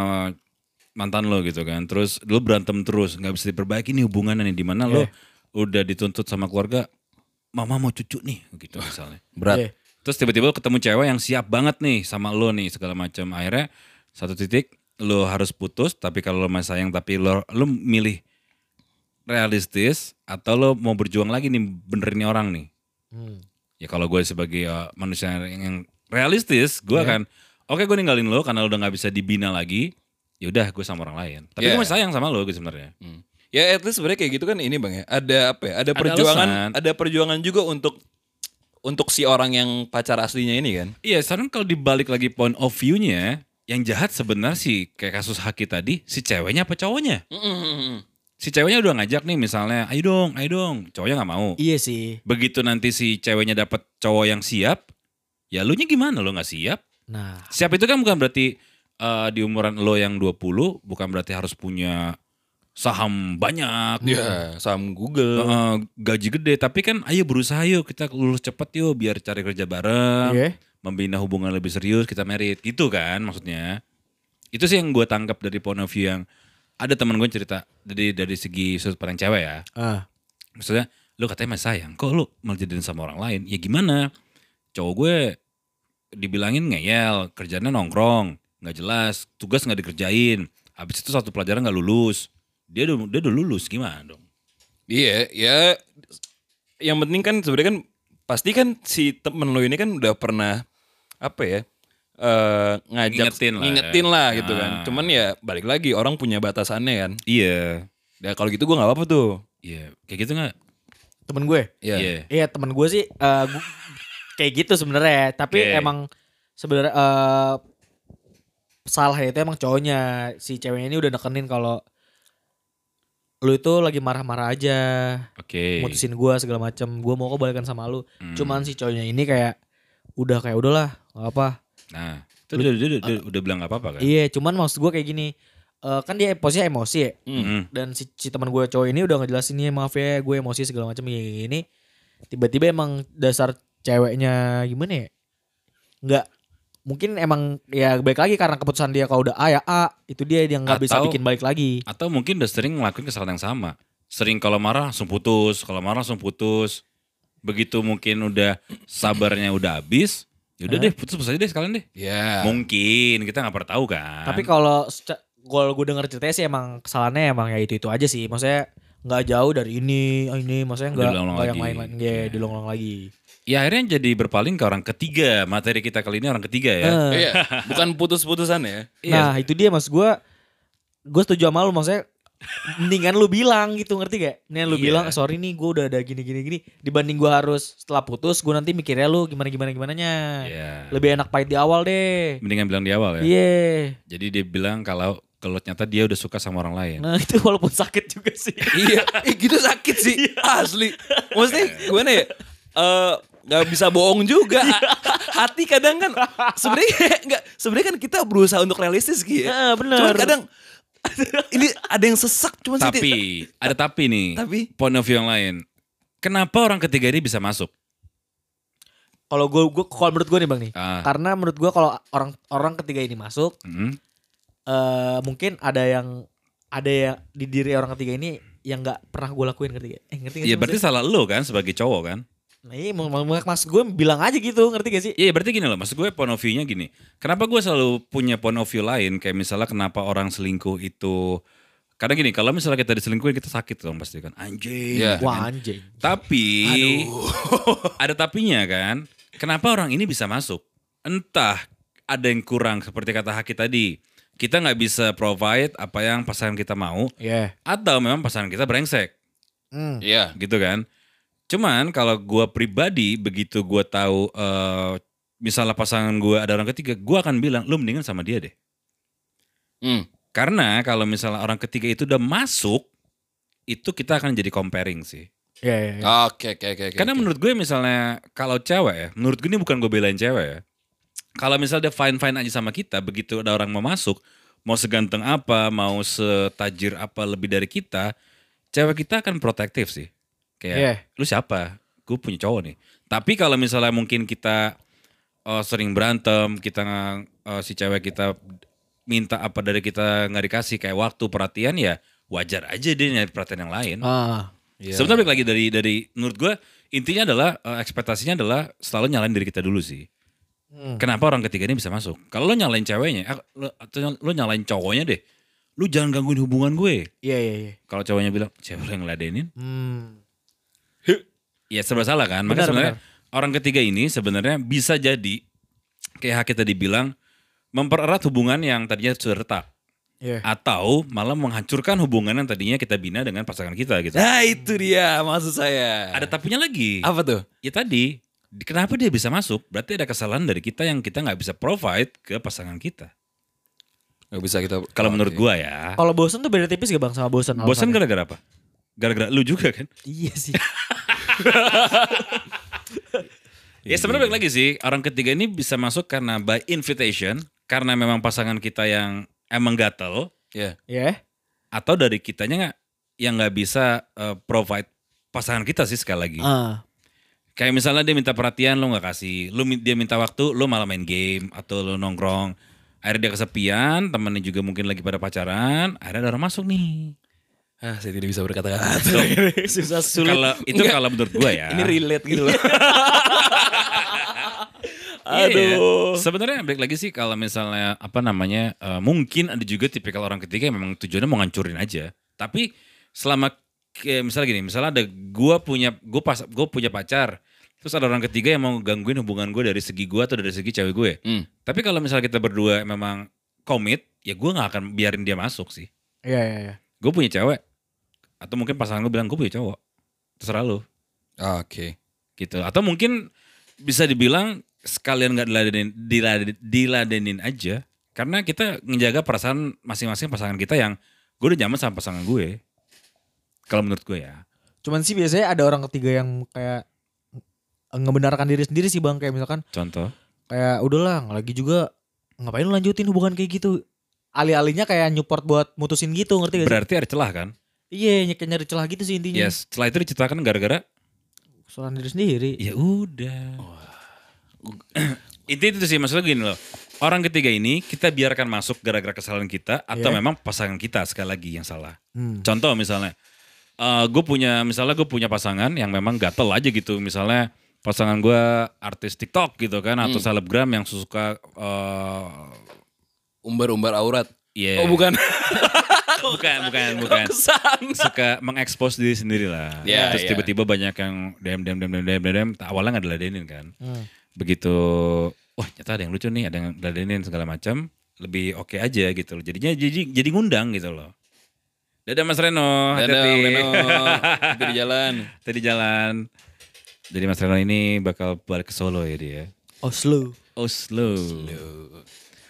Speaker 1: mantan lo gitu kan terus lu berantem terus nggak bisa diperbaiki nih hubungannya nih di mana lo udah dituntut sama keluarga mama mau cucu nih gitu misalnya
Speaker 2: Berat.
Speaker 3: Iya.
Speaker 1: terus tiba-tiba lu ketemu cewek yang siap banget nih sama lo nih segala macam akhirnya satu titik lo harus putus tapi kalau lo masih sayang tapi lo lo milih realistis atau lo mau berjuang lagi nih benerin nih orang nih
Speaker 3: Hmm.
Speaker 1: ya kalau gue sebagai uh, manusia yang, yang realistis gue akan oke gue ninggalin lo karena lo udah nggak bisa dibina lagi ya udah gue sama orang lain tapi
Speaker 2: Yeah.
Speaker 1: gue masih sayang sama lo gue sebenarnya
Speaker 2: Hmm. Ya at least sebenarnya kayak gitu kan ini bang ya. Ada apa ya? Ada perjuangan.
Speaker 1: alasan.
Speaker 2: Ada, perjuangan juga untuk untuk si orang yang pacar aslinya ini kan.
Speaker 1: iya sekarang kalau dibalik lagi point of view-nya yang jahat sebenarnya sih kayak kasus Haki tadi si ceweknya apa cowoknya hmm. si ceweknya udah ngajak nih misalnya ayo dong ayo dong cowoknya nggak mau
Speaker 3: Iya sih.
Speaker 1: begitu nanti si ceweknya dapat cowok yang siap ya lu nya gimana lo nggak siap
Speaker 3: Nah,
Speaker 1: Siap itu kan bukan berarti eh, di umuran lo yang 20 bukan berarti harus punya saham banyak.
Speaker 2: Ya saham Google.
Speaker 1: eh, gaji gede tapi kan ayo berusaha yuk kita lulus cepet yuk biar cari kerja bareng
Speaker 3: Iya.
Speaker 1: membina hubungan lebih serius kita merit gitu kan maksudnya itu sih yang gue tangkap dari point of view yang ada teman gue cerita dari dari segi sudut pandang cewek ya
Speaker 3: ah,
Speaker 1: maksudnya lu katanya masih sayang kok lu malah jadian sama orang lain ya gimana cowok gue dibilangin ngeyel kerjanya nongkrong nggak jelas tugas nggak dikerjain habis itu satu pelajaran nggak lulus dia udah dia udah lulus gimana dong
Speaker 2: Iya, ya yang penting kan sebenarnya kan pasti kan si temen lo ini kan udah pernah apa ya eh ngajak
Speaker 1: Ngingetin lah ya.
Speaker 2: lah gitu kan.
Speaker 1: Ah.
Speaker 2: Cuman ya balik lagi orang punya batasannya kan.
Speaker 1: iya
Speaker 2: Ya kalau gitu gua nggak apa-apa tuh.
Speaker 1: iya kayak gitu nggak
Speaker 3: temen gue.
Speaker 2: Iya.
Speaker 3: Iya temen gue sih eh, gu- kayak gitu sebenarnya, tapi
Speaker 1: Oke.
Speaker 3: emang sebenarnya eh, salahnya itu emang cowoknya si ceweknya ini udah nekenin kalau lu itu lagi marah-marah aja,
Speaker 1: oke
Speaker 3: mutusin gue segala macem, gue mau kok balikan sama lu.
Speaker 1: Hmm.
Speaker 3: Cuman si cowoknya ini kayak udah kayak udahlah nggak apa.
Speaker 1: nah itu dia, dia- dia- dia udah bilang nggak apa-apa kan
Speaker 3: Iya, cuman maksud gue kayak gini, eh, kan dia posnya emosi ya,
Speaker 1: Mm-mm.
Speaker 3: dan si, si teman gue cowok ini udah ngejelasin nih maaf ya gue emosi segala macam gini gini tiba-tiba emang dasar ceweknya gimana ya nggak mungkin emang ya baik lagi karena keputusan dia kalau udah A ya A itu dia yang nggak bisa
Speaker 1: Atau-
Speaker 3: bikin balik lagi
Speaker 1: atau mungkin udah sering ngelakuin kesalahan yang sama sering kalau marah langsung putus kalau marah langsung putus begitu mungkin udah sabarnya udah habis yaudah
Speaker 3: Eh.
Speaker 1: deh putus-putus aja deh sekalian deh
Speaker 2: Ya.
Speaker 1: Mungkin kita nggak pernah tahu kan.
Speaker 3: tapi kalau seca- gol gue denger ceritanya sih emang kesalahannya emang ya itu itu aja sih maksudnya nggak jauh dari ini ah, ini maksudnya nggak
Speaker 1: Diulang-ulang
Speaker 3: nggak yang
Speaker 1: lagi. Iya.
Speaker 3: lain-lain ya diulang-ulang lagi
Speaker 1: ya akhirnya jadi berpaling ke orang ketiga. Materi kita kali ini orang ketiga ya.
Speaker 3: Eh.
Speaker 2: Iya, bukan putus-putusan ya.
Speaker 1: Iya.
Speaker 3: Nah itu dia mas gue Gue setuju sama lu maksudnya mendingan lu bilang gitu ngerti gak? Mendingan lu
Speaker 1: Iya.
Speaker 3: bilang sorry nih gue udah ada gini gini gini dibanding gue harus setelah putus gue nanti mikirnya lu gimana gimana gimana nya.
Speaker 1: Iya.
Speaker 3: Lebih enak pahit di awal deh.
Speaker 1: Mendingan bilang di awal ya.
Speaker 3: Iya.
Speaker 1: Jadi dia bilang kalau kalau ternyata dia udah suka sama orang lain.
Speaker 3: Nah itu walaupun sakit juga sih.
Speaker 2: iya, ih, gitu sakit sih asli. Maksudnya gimana ya? Eh, nggak bisa bohong juga. Hati kadang kan sebenarnya nggak sebenarnya kan kita berusaha untuk realistis
Speaker 3: Heeh,
Speaker 2: gitu. Ya.
Speaker 3: bener.
Speaker 2: Cuman kadang ini ada yang sesak cuman sih,
Speaker 1: tapi ada tapi nih.
Speaker 2: Tapi?
Speaker 1: point of view yang lain. Kenapa orang ketiga ini bisa masuk?
Speaker 3: Kalau gue gue kalau menurut gue nih bang nih.
Speaker 1: Ah.
Speaker 3: Karena menurut gue kalau orang orang ketiga ini masuk
Speaker 1: Mm,
Speaker 3: eh mungkin ada yang ada yang di diri orang ketiga ini yang nggak pernah gue lakuin ngerti gak? Eh ngerti gak sih
Speaker 1: Ya berarti
Speaker 3: maksudnya?
Speaker 1: salah lo kan sebagai cowok kan?
Speaker 3: Nah iya mau- mau- mau- maksud gue bilang aja gitu ngerti gak sih?
Speaker 1: Iya berarti gini loh, maksud gue point of view-nya gini. Kenapa gue selalu punya point of view lain? Kayak misalnya kenapa orang selingkuh itu... Karena gini, kalau misalnya kita diselingkuhin kita sakit dong pasti kan. Anjing.
Speaker 2: Iya.
Speaker 3: Wah anjing.
Speaker 1: Tapi ada tapinya kan. Kenapa orang ini bisa masuk? Entah ada yang kurang seperti kata Haki tadi. Kita nggak bisa provide apa yang pasangan kita mau
Speaker 3: Iya.
Speaker 1: atau memang pasangan kita brengsek
Speaker 3: Hmm.
Speaker 2: Iya.
Speaker 1: gitu kan. Cuman kalau gua pribadi begitu gua tahu eh, misalnya pasangan gua ada orang ketiga, gua akan bilang lu mendingan sama dia deh.
Speaker 2: Hmm.
Speaker 1: Karena kalau misalnya orang ketiga itu udah masuk, itu kita akan jadi comparing sih.
Speaker 3: Iya. iya, iya.
Speaker 2: Oke, oke, oke. oke,
Speaker 1: Karena
Speaker 2: oke.
Speaker 1: menurut gue misalnya kalau cewek ya, menurut gue ini bukan gue belain cewek ya. Kalau misalnya dia fine-fine aja sama kita, begitu ada orang mau masuk, mau seganteng apa, mau setajir apa lebih dari kita, cewek kita akan protektif sih. Kayak,
Speaker 3: Iya.
Speaker 1: lu siapa? Gue punya cowok nih. Tapi kalau misalnya mungkin kita eh, sering berantem, kita nggak- eh, si cewek kita minta apa dari kita nggak dikasih kayak waktu perhatian ya wajar aja dia nyari perhatian yang lain.
Speaker 3: Ah.
Speaker 1: Sebenarnya balik lagi dari dari menurut gue intinya adalah eh, ekspektasinya adalah selalu nyalain diri kita dulu sih.
Speaker 3: Hmm.
Speaker 1: Kenapa orang ketiga ini bisa masuk? Kalau lo nyalain ceweknya, eh, lo- atau lo nyalain cowoknya deh, lu jangan gangguin hubungan gue.
Speaker 3: Iya iya iya.
Speaker 1: Kalau cowoknya bilang cewek lo yang ngeladenin,
Speaker 3: Hmm.
Speaker 1: ya serba salah kan.
Speaker 3: Benar,
Speaker 1: Maka sebenarnya orang ketiga ini sebenarnya bisa jadi kayak Haki tadi bilang mempererat hubungan yang tadinya sudah retak
Speaker 3: Iya.
Speaker 1: atau malah menghancurkan hubungan yang tadinya kita bina dengan pasangan kita gitu.
Speaker 2: Nah, itu dia maksud saya.
Speaker 1: Ada tapinya lagi.
Speaker 2: apa tuh?
Speaker 1: ya tadi di- kenapa dia bisa masuk berarti ada kesalahan dari kita yang kita nggak bisa provide ke pasangan kita
Speaker 2: Gak bisa kita
Speaker 1: kalau menurut gua ya
Speaker 3: Kalau bosen tuh beda tipis gak bang sama bosen?
Speaker 1: bosan
Speaker 3: alasannya?
Speaker 1: gara-gara apa gara-gara lu juga kan
Speaker 3: Iya sih.
Speaker 1: ya sebenarnya balik lagi sih orang ketiga ini bisa masuk karena by invitation karena memang pasangan kita yang emang gatel
Speaker 2: Iya.
Speaker 3: Iya.
Speaker 1: atau dari kitanya nggak yang nggak bisa eh, provide pasangan kita sih sekali lagi
Speaker 3: Ah.
Speaker 1: Kayak misalnya dia minta perhatian lo nggak kasih, lu min- dia minta waktu lo malah main game atau lo nongkrong. Akhirnya dia kesepian, temennya juga mungkin lagi pada pacaran, akhirnya ada orang masuk nih.
Speaker 2: Ah, saya tidak bisa berkata-kata.
Speaker 3: Susah sulit.
Speaker 1: Kalau
Speaker 3: Ah.
Speaker 1: itu
Speaker 2: Nggak.
Speaker 1: kalau menurut gua ya.
Speaker 2: Ini relate gitu loh.
Speaker 1: Iya, ya. Sebenarnya balik lagi sih kalau misalnya apa namanya eh, mungkin ada juga tipikal orang ketiga yang memang tujuannya mau ngancurin aja. Tapi selama kayak misalnya gini, misalnya ada gua punya gua pas gua punya pacar, terus ada orang ketiga yang mau gangguin hubungan gue dari segi gua atau dari segi cewek gue.
Speaker 2: Hmm.
Speaker 1: Tapi kalau misalnya kita berdua memang komit, ya gue nggak akan biarin dia masuk sih.
Speaker 3: Iya iya iya.
Speaker 1: Gue punya cewek, atau mungkin pasangan gue bilang gue punya cowok, terserah lu
Speaker 2: Oke.
Speaker 1: gitu. Atau mungkin bisa dibilang sekalian nggak diladenin, dilade- diladenin aja, karena kita menjaga perasaan masing-masing pasangan kita yang gue udah nyaman sama pasangan gue. Kalau menurut gue ya.
Speaker 3: Cuman sih biasanya ada orang ketiga yang kayak ngebenarkan diri sendiri sih bang kayak misalkan
Speaker 1: Contoh.
Speaker 3: kayak udahlah nggak lagi juga ngapain lu lanjutin hubungan kayak gitu alih-alihnya kayak nyupport buat mutusin gitu ngerti gak sih?
Speaker 1: Berarti ada celah kan?
Speaker 3: Iya ny- kayak nyari celah gitu sih intinya.
Speaker 1: Yes. Celah itu diciptakan gara-gara
Speaker 3: Kesalahan diri sendiri.
Speaker 1: Ya udah. Intinya itu sih maksudnya gini loh. Orang ketiga ini kita biarkan masuk gara-gara kesalahan kita atau
Speaker 3: Iya.
Speaker 1: memang pasangan kita sekali lagi yang salah.
Speaker 3: Hmm.
Speaker 1: Contoh misalnya, gue punya misalnya gue punya pasangan yang memang gatel aja gitu. Misalnya pasangan gue artis TikTok gitu kan
Speaker 2: Hmm.
Speaker 1: atau selebgram yang suka eh,
Speaker 2: Umbar-umbar aurat.
Speaker 1: Iya.
Speaker 2: Oh, bukan.
Speaker 1: bukan bukan bukan suka mengekspos diri sendiri lah.
Speaker 2: Iya,
Speaker 1: Terus
Speaker 2: iya.
Speaker 1: tiba-tiba banyak yang dem dem dem dem dem dem dem awalnya nggak diladenin kan.
Speaker 3: Hmm.
Speaker 1: Begitu wah ternyata ada yang lucu nih, ada yang diladenin segala macam, lebih oke aja gitu loh. Jadinya jadi jadi ngundang gitu loh. Dadah Mas Reno,
Speaker 2: Dadah, Om
Speaker 1: hati-hati.
Speaker 2: Reno. Hati di jalan.
Speaker 1: Tadi jalan. Jadi Mas Reno ini bakal balik ke Solo ya dia.
Speaker 3: Oslo.
Speaker 1: Oslo.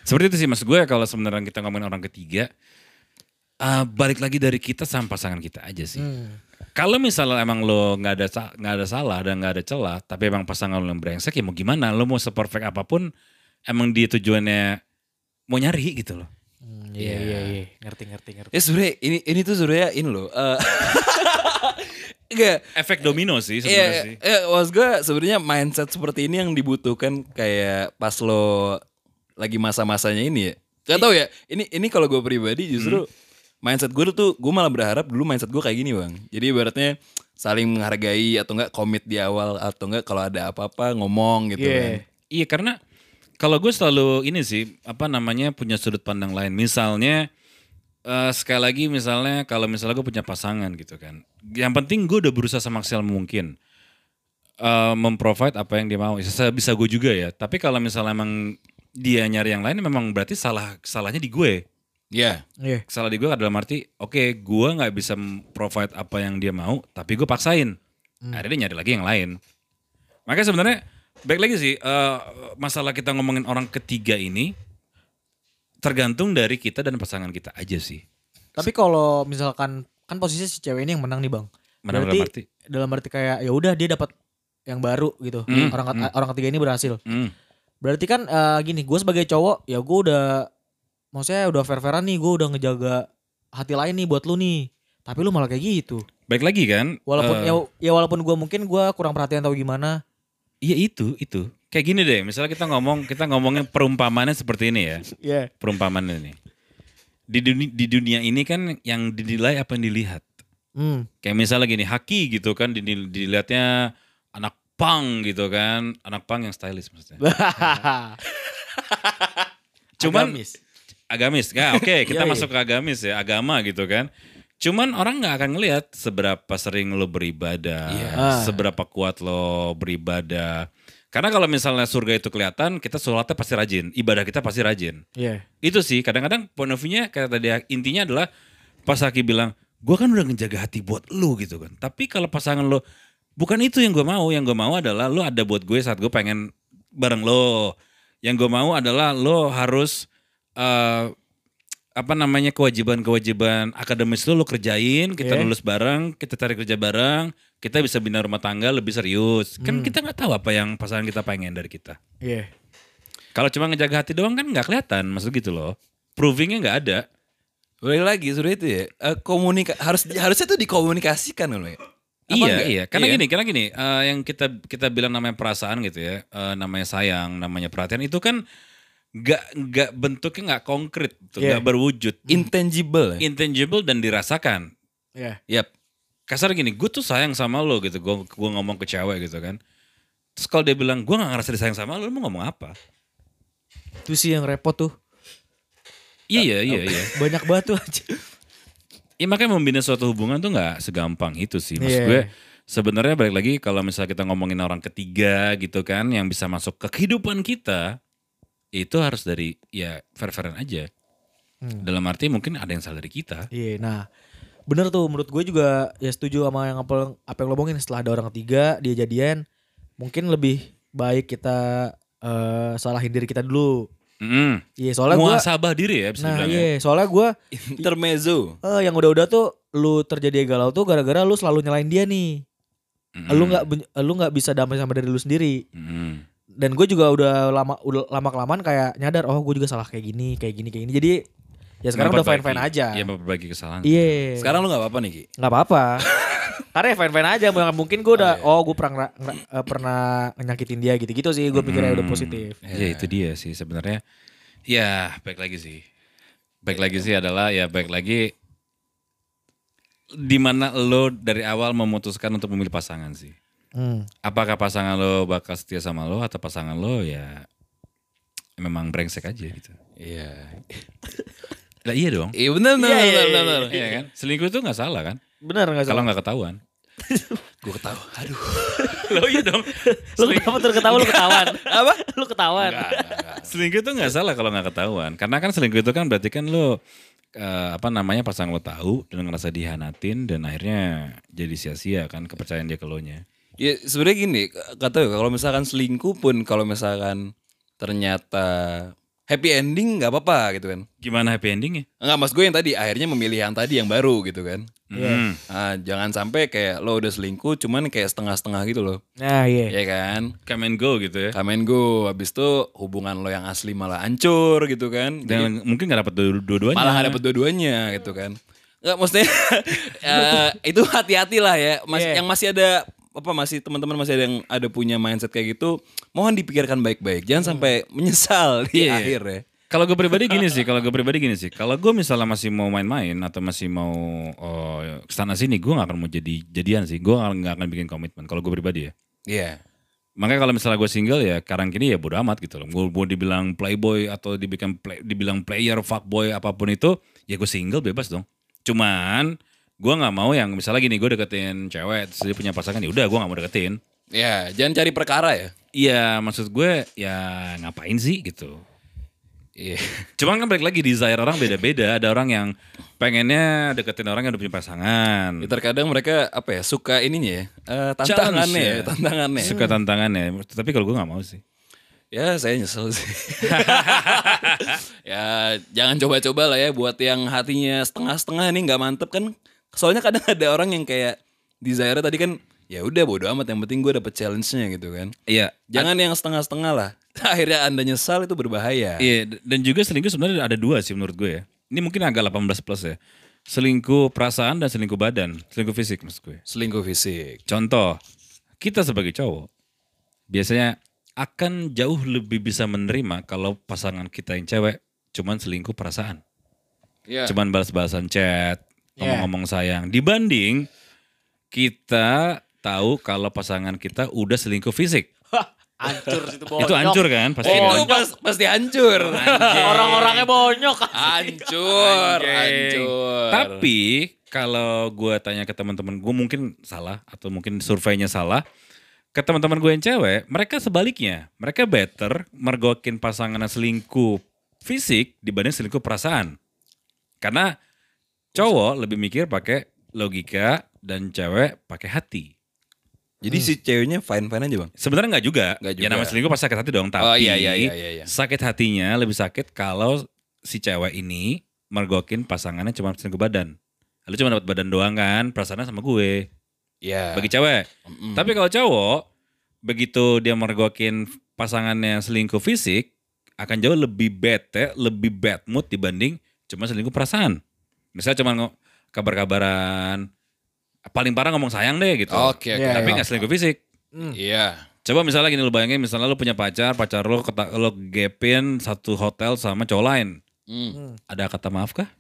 Speaker 1: Seperti itu sih mas gue kalau sebenarnya kita ngomongin orang ketiga, eh, balik lagi dari kita sama pasangan kita aja sih.
Speaker 2: Hmm.
Speaker 1: Kalau misalnya emang lo nggak ada sa- nggak ada salah dan nggak ada celah, tapi emang pasangan lo yang brengsek ya mau gimana? Lo mau seperfect apapun, emang dia tujuannya mau nyari gitu loh.
Speaker 3: Hmm, iya, iya, iya. Ngerti, ngerti, ngerti.
Speaker 2: Ya sebenernya ini ini tuh sebenernya ini loh. eh, Enggak.
Speaker 1: Efek domino sih
Speaker 2: Iya,
Speaker 1: sebenarnya sih.
Speaker 2: iya, maksud gue sebenarnya mindset seperti ini yang dibutuhkan kayak pas lo lagi masa-masanya ini ya. Gak tau ya, ini ini kalau gue pribadi justru mindset gue tuh gue malah berharap dulu mindset gue kayak gini bang. Jadi ibaratnya saling menghargai atau enggak komit di awal atau enggak kalau ada apa-apa ngomong gitu
Speaker 3: Iya.
Speaker 2: kan.
Speaker 1: Iya karena kalau gue selalu ini sih apa namanya punya sudut pandang lain. Misalnya eh, sekali lagi misalnya kalau misalnya gue punya pasangan gitu kan. Yang penting gue udah berusaha semaksimal mungkin eh, memprovide apa yang dia mau. Bisa gue juga ya. Tapi kalau misalnya emang dia nyari yang lain memang berarti salah salahnya di gue.
Speaker 2: Iya.
Speaker 3: Iya.
Speaker 1: Salah di gue adalah arti oke gue nggak bisa provide apa yang dia mau tapi gue paksain.
Speaker 3: Hmm.
Speaker 1: Akhirnya dia nyari lagi yang lain. Makanya sebenarnya baik lagi sih eh, masalah kita ngomongin orang ketiga ini tergantung dari kita dan pasangan kita aja sih.
Speaker 3: Tapi kalau misalkan kan posisinya si cewek ini yang menang nih bang.
Speaker 1: Menang
Speaker 3: berarti,
Speaker 1: dalam arti?
Speaker 3: dalam arti kayak ya udah dia dapat yang baru gitu.
Speaker 1: Hmm,
Speaker 3: Orang ket- orang ketiga ini berhasil.
Speaker 1: Hmm.
Speaker 3: Berarti kan eh, gini, gue sebagai cowok ya gue udah maksudnya udah fair-fairan nih, gue udah ngejaga hati lain nih buat lu nih. Tapi lu malah kayak gitu.
Speaker 1: Baik lagi kan?
Speaker 3: Walaupun
Speaker 1: eh,
Speaker 3: ya, ya walaupun gue mungkin gue kurang perhatian atau gimana.
Speaker 1: iya itu itu kayak gini deh. Misalnya kita ngomong kita ngomongin perumpamannya seperti ini ya.
Speaker 3: Iya.
Speaker 1: Perumpamannya nih di dunia, di dunia ini kan yang dinilai apa yang dilihat.
Speaker 3: Hmm.
Speaker 1: Kayak misalnya gini, Haki gitu kan dinil- dilihatnya anak pang gitu kan, anak pang yang stylish maksudnya. Cuman
Speaker 3: Agamis.
Speaker 1: agamis. Ya, oke, kita
Speaker 3: Iya, iya.
Speaker 1: masuk ke agamis ya, agama gitu kan. Cuman orang nggak akan ngelihat seberapa sering lo beribadah,
Speaker 3: Iya.
Speaker 1: seberapa kuat lo beribadah. Karena kalau misalnya surga itu kelihatan, kita sholatnya pasti rajin, ibadah kita pasti rajin.
Speaker 3: Iya.
Speaker 1: Itu sih kadang-kadang point of view-nya kayak tadi ya, intinya adalah pas Haki bilang, "Gua kan udah ngejaga hati buat lu gitu kan." Tapi kalau pasangan lo bukan itu yang gue mau, yang gue mau adalah lo ada buat gue saat gue pengen bareng lo. Yang gue mau adalah lo harus eh, apa namanya kewajiban-kewajiban akademis lo lo kerjain, kita
Speaker 3: Iya.
Speaker 1: lulus bareng, kita cari kerja bareng, kita bisa bina rumah tangga lebih serius. Kan kita nggak tahu apa yang pasangan kita pengen dari kita.
Speaker 3: Iya.
Speaker 1: Kalau cuma ngejaga hati doang kan nggak kelihatan, maksud gitu loh. Provingnya nggak ada.
Speaker 2: Balik lagi sebenernya itu ya, eh, komunika harus harusnya tuh dikomunikasikan loh ya. Apa
Speaker 1: iya,
Speaker 2: enggak?
Speaker 1: iya. Karena gini, karena gini, eh, yang kita kita bilang namanya perasaan gitu ya, eh, namanya sayang, namanya perhatian itu kan nggak nggak bentuknya nggak konkret, tuh,
Speaker 3: Iya.
Speaker 1: nggak berwujud,
Speaker 2: intangible ya.
Speaker 1: intangible dan dirasakan.
Speaker 3: Iya.
Speaker 2: Yap.
Speaker 1: Kasar gini, gue tuh sayang sama lo gitu, gue gua ngomong ke cewek gitu kan. Terus kalau dia bilang gue nggak ngerasa disayang sama lo, lo mau ngomong apa?
Speaker 3: Itu sih yang repot tuh.
Speaker 1: Iya, iya, iya.
Speaker 3: Banyak banget tuh aja.
Speaker 1: Ya makanya membina suatu hubungan tuh nggak segampang itu sih. Maksud
Speaker 3: Iya.
Speaker 1: gue sebenarnya balik lagi kalau misalnya kita ngomongin orang ketiga gitu kan yang bisa masuk ke kehidupan kita itu harus dari ya fair-fairan aja.
Speaker 3: Hmm.
Speaker 1: Dalam arti mungkin ada yang salah dari kita.
Speaker 3: Iya, nah bener tuh menurut gue juga ya setuju sama yang apa, apa yang lo omongin setelah ada orang ketiga dia jadian mungkin lebih baik kita eh, salahin diri kita dulu.
Speaker 1: Mm-mm.
Speaker 3: Iya soalnya gue,
Speaker 1: Muasabah diri ya bisa
Speaker 3: nah
Speaker 1: dibilang ya.
Speaker 3: iya soalnya gue
Speaker 2: Intermezzo.
Speaker 3: eh, yang udah-udah tuh lu terjadi galau tuh gara-gara lu selalu nyalain dia nih.
Speaker 1: Mm-mm.
Speaker 3: Lu nggak ben- lu nggak bisa damai sama diri lu sendiri.
Speaker 1: Mm-mm.
Speaker 3: Dan gue juga udah lama udah lama kelamaan kayak nyadar oh gue juga salah kayak gini kayak gini kayak gini. Jadi ya sekarang udah
Speaker 1: Memperbaiki-
Speaker 3: fine fine aja.
Speaker 1: Iya memperbaiki kesalahan.
Speaker 3: Iya.
Speaker 2: Sekarang lu gak apa-apa nih Ki?
Speaker 3: nggak apa-apa karena ya fan-fan aja mungkin- mungkin gue udah oh, gue pernah ngera- ngera- eh, pernah nyakitin dia gitu-gitu sih gue pikirnya udah positif
Speaker 1: Ya itu dia sih sebenarnya. Ya baik lagi sih. Baik lagi sih adalah ya baik lagi di mana lo dari awal memutuskan untuk memilih pasangan sih.
Speaker 3: hmm.
Speaker 1: Apakah pasangan lo bakal setia sama lo atau pasangan lo ya memang brengsek aja gitu.
Speaker 2: Iya.
Speaker 1: Lah iya dong.
Speaker 2: Iya benar benar
Speaker 3: Iya,
Speaker 2: benar
Speaker 3: iya,
Speaker 2: benar, benar.
Speaker 1: Iya kan? Selingkuh itu nggak salah kan?
Speaker 3: bener nggak
Speaker 1: Kalau
Speaker 3: salah
Speaker 1: nggak ketahuan.
Speaker 2: Gue ketawa. Aduh.
Speaker 1: Lo iya dong.
Speaker 3: lu kenapa terus ketawa lu ketahuan apa lu ketahuan
Speaker 1: Selingkuh itu nggak salah kalau nggak ketahuan. Karena kan selingkuh itu kan berarti kan lo eh, apa namanya pasangan lo tahu dan ngerasa dihanatin dan akhirnya jadi sia-sia kan kepercayaan dia ke lo nya.
Speaker 2: Ya sebenarnya gini, kata gue, kalau misalkan selingkuh pun kalau misalkan ternyata happy ending nggak apa-apa gitu kan.
Speaker 1: Gimana happy endingnya?
Speaker 2: Enggak mas gue yang tadi akhirnya memilih yang tadi yang baru gitu kan.
Speaker 1: Hmm.
Speaker 2: Ah, jangan sampai kayak lo udah selingkuh cuman kayak setengah-setengah gitu loh.
Speaker 3: Nah iya.
Speaker 2: Ya kan?
Speaker 1: Come and go gitu ya.
Speaker 2: Kamen go habis itu hubungan lo yang asli malah hancur gitu kan.
Speaker 1: Dan
Speaker 2: Jadi
Speaker 1: mungkin gak dapet dua- dua-duanya.
Speaker 2: malah nggak dapet dua-duanya gitu kan. Enggak maksudnya eh, itu hati-hati lah ya. Mas,
Speaker 3: Iya.
Speaker 2: Yang masih ada apa masih teman-teman masih ada yang ada punya mindset kayak gitu, mohon dipikirkan baik-baik. Jangan sampai menyesal
Speaker 1: Hmm.
Speaker 2: di
Speaker 1: Iya.
Speaker 2: akhir ya.
Speaker 1: Kalau gue pribadi gini sih, kalau gue pribadi gini sih. Kalau gue misalnya masih mau main-main atau masih mau oh, kesana sini, gue gak akan mau jadi jadian sih. Gue gak akan bikin komitmen. Kalau gue pribadi ya.
Speaker 2: Iya.
Speaker 1: Makanya kalau misalnya gue single ya, karang kini ya bodo amat gitu loh. Gue mau dibilang playboy atau dibikin play- dibilang player, fuckboy apapun itu, ya gue single bebas dong. Cuman gue nggak mau yang misalnya gini gue deketin cewek, terus dia punya pasangan ya udah gue nggak mau deketin.
Speaker 2: Iya, jangan cari perkara ya.
Speaker 1: Iya maksud gue ya ngapain sih gitu.
Speaker 2: Iya.
Speaker 1: Cuman kan balik lagi desire orang beda-beda. Ada orang yang pengennya deketin orang yang udah punya pasangan.
Speaker 2: Ya, Terkadang mereka apa ya suka ininya ya, eh, tantangannya ya,
Speaker 1: Challenge ya.
Speaker 2: tantangannya.
Speaker 1: Suka tantangannya. Tapi kalau gue nggak mau sih.
Speaker 2: Ya saya nyesel sih. ya jangan coba-coba lah ya buat yang hatinya setengah-setengah nih nggak mantep kan. Soalnya kadang ada orang yang kayak desire tadi kan ya udah bodo amat yang penting gue dapet challenge-nya gitu kan.
Speaker 1: Iya.
Speaker 2: Jangan yang setengah-setengah lah. Akhirnya anda nyesal itu berbahaya.
Speaker 1: Iya, d- dan juga selingkuh sebenarnya ada dua sih menurut gue ya. Ini mungkin agak 18 plus ya. Selingkuh perasaan dan selingkuh badan, selingkuh fisik maksud gue.
Speaker 2: Selingkuh fisik.
Speaker 1: Contoh, kita sebagai cowok biasanya akan jauh lebih bisa menerima kalau pasangan kita yang cewek cuman selingkuh perasaan.
Speaker 2: Iya.
Speaker 1: Cuman balas-balasan chat,
Speaker 3: Iya.
Speaker 1: ngomong-ngomong sayang. Dibanding kita tahu kalau pasangan kita udah selingkuh fisik.
Speaker 3: Hancur situ bonyok.
Speaker 1: Itu hancur kan pasti.
Speaker 2: Oh, itu
Speaker 1: kan?
Speaker 2: pas- pasti hancur.
Speaker 3: Orang-orangnya bonyok.
Speaker 2: hancur,
Speaker 1: Anjing.
Speaker 2: hancur.
Speaker 1: Tapi kalau gue tanya ke teman-teman gue mungkin salah atau mungkin surveinya salah. Ke teman-teman gue yang cewek, mereka sebaliknya, mereka better mergokin pasangan selingkuh fisik dibanding selingkuh perasaan. Karena cowok lebih mikir pakai logika dan cewek pakai hati.
Speaker 2: Jadi si ceweknya fine-fine aja bang.
Speaker 1: Sebenarnya nggak juga.
Speaker 2: Nggak
Speaker 1: Ya
Speaker 2: juga.
Speaker 1: namanya selingkuh pasti sakit hati dong. Tapi
Speaker 2: Oh, iya, iya, iya, iya, iya.
Speaker 1: sakit hatinya lebih sakit kalau si cewek ini mergokin pasangannya cuma selingkuh badan. Lu cuma dapat badan doang kan, perasaannya sama gue.
Speaker 2: Iya.
Speaker 1: Bagi cewek.
Speaker 2: Mm-mm.
Speaker 1: Tapi kalau cowok, begitu dia mergokin pasangannya selingkuh fisik, akan jauh lebih bete, lebih bad mood dibanding cuma selingkuh perasaan. Misalnya cuma ngo- kabar-kabaran, paling parah ngomong sayang deh gitu.
Speaker 2: Oke, oke.
Speaker 3: Iya,
Speaker 1: Tapi
Speaker 3: iya.
Speaker 1: nggak selingkuh fisik.
Speaker 2: Iya.
Speaker 1: Coba misalnya gini lu bayangin misalnya lu punya pacar, pacar lu keta, lu gapin satu hotel sama cowok lain.
Speaker 2: Mm.
Speaker 1: Ada kata maaf kah?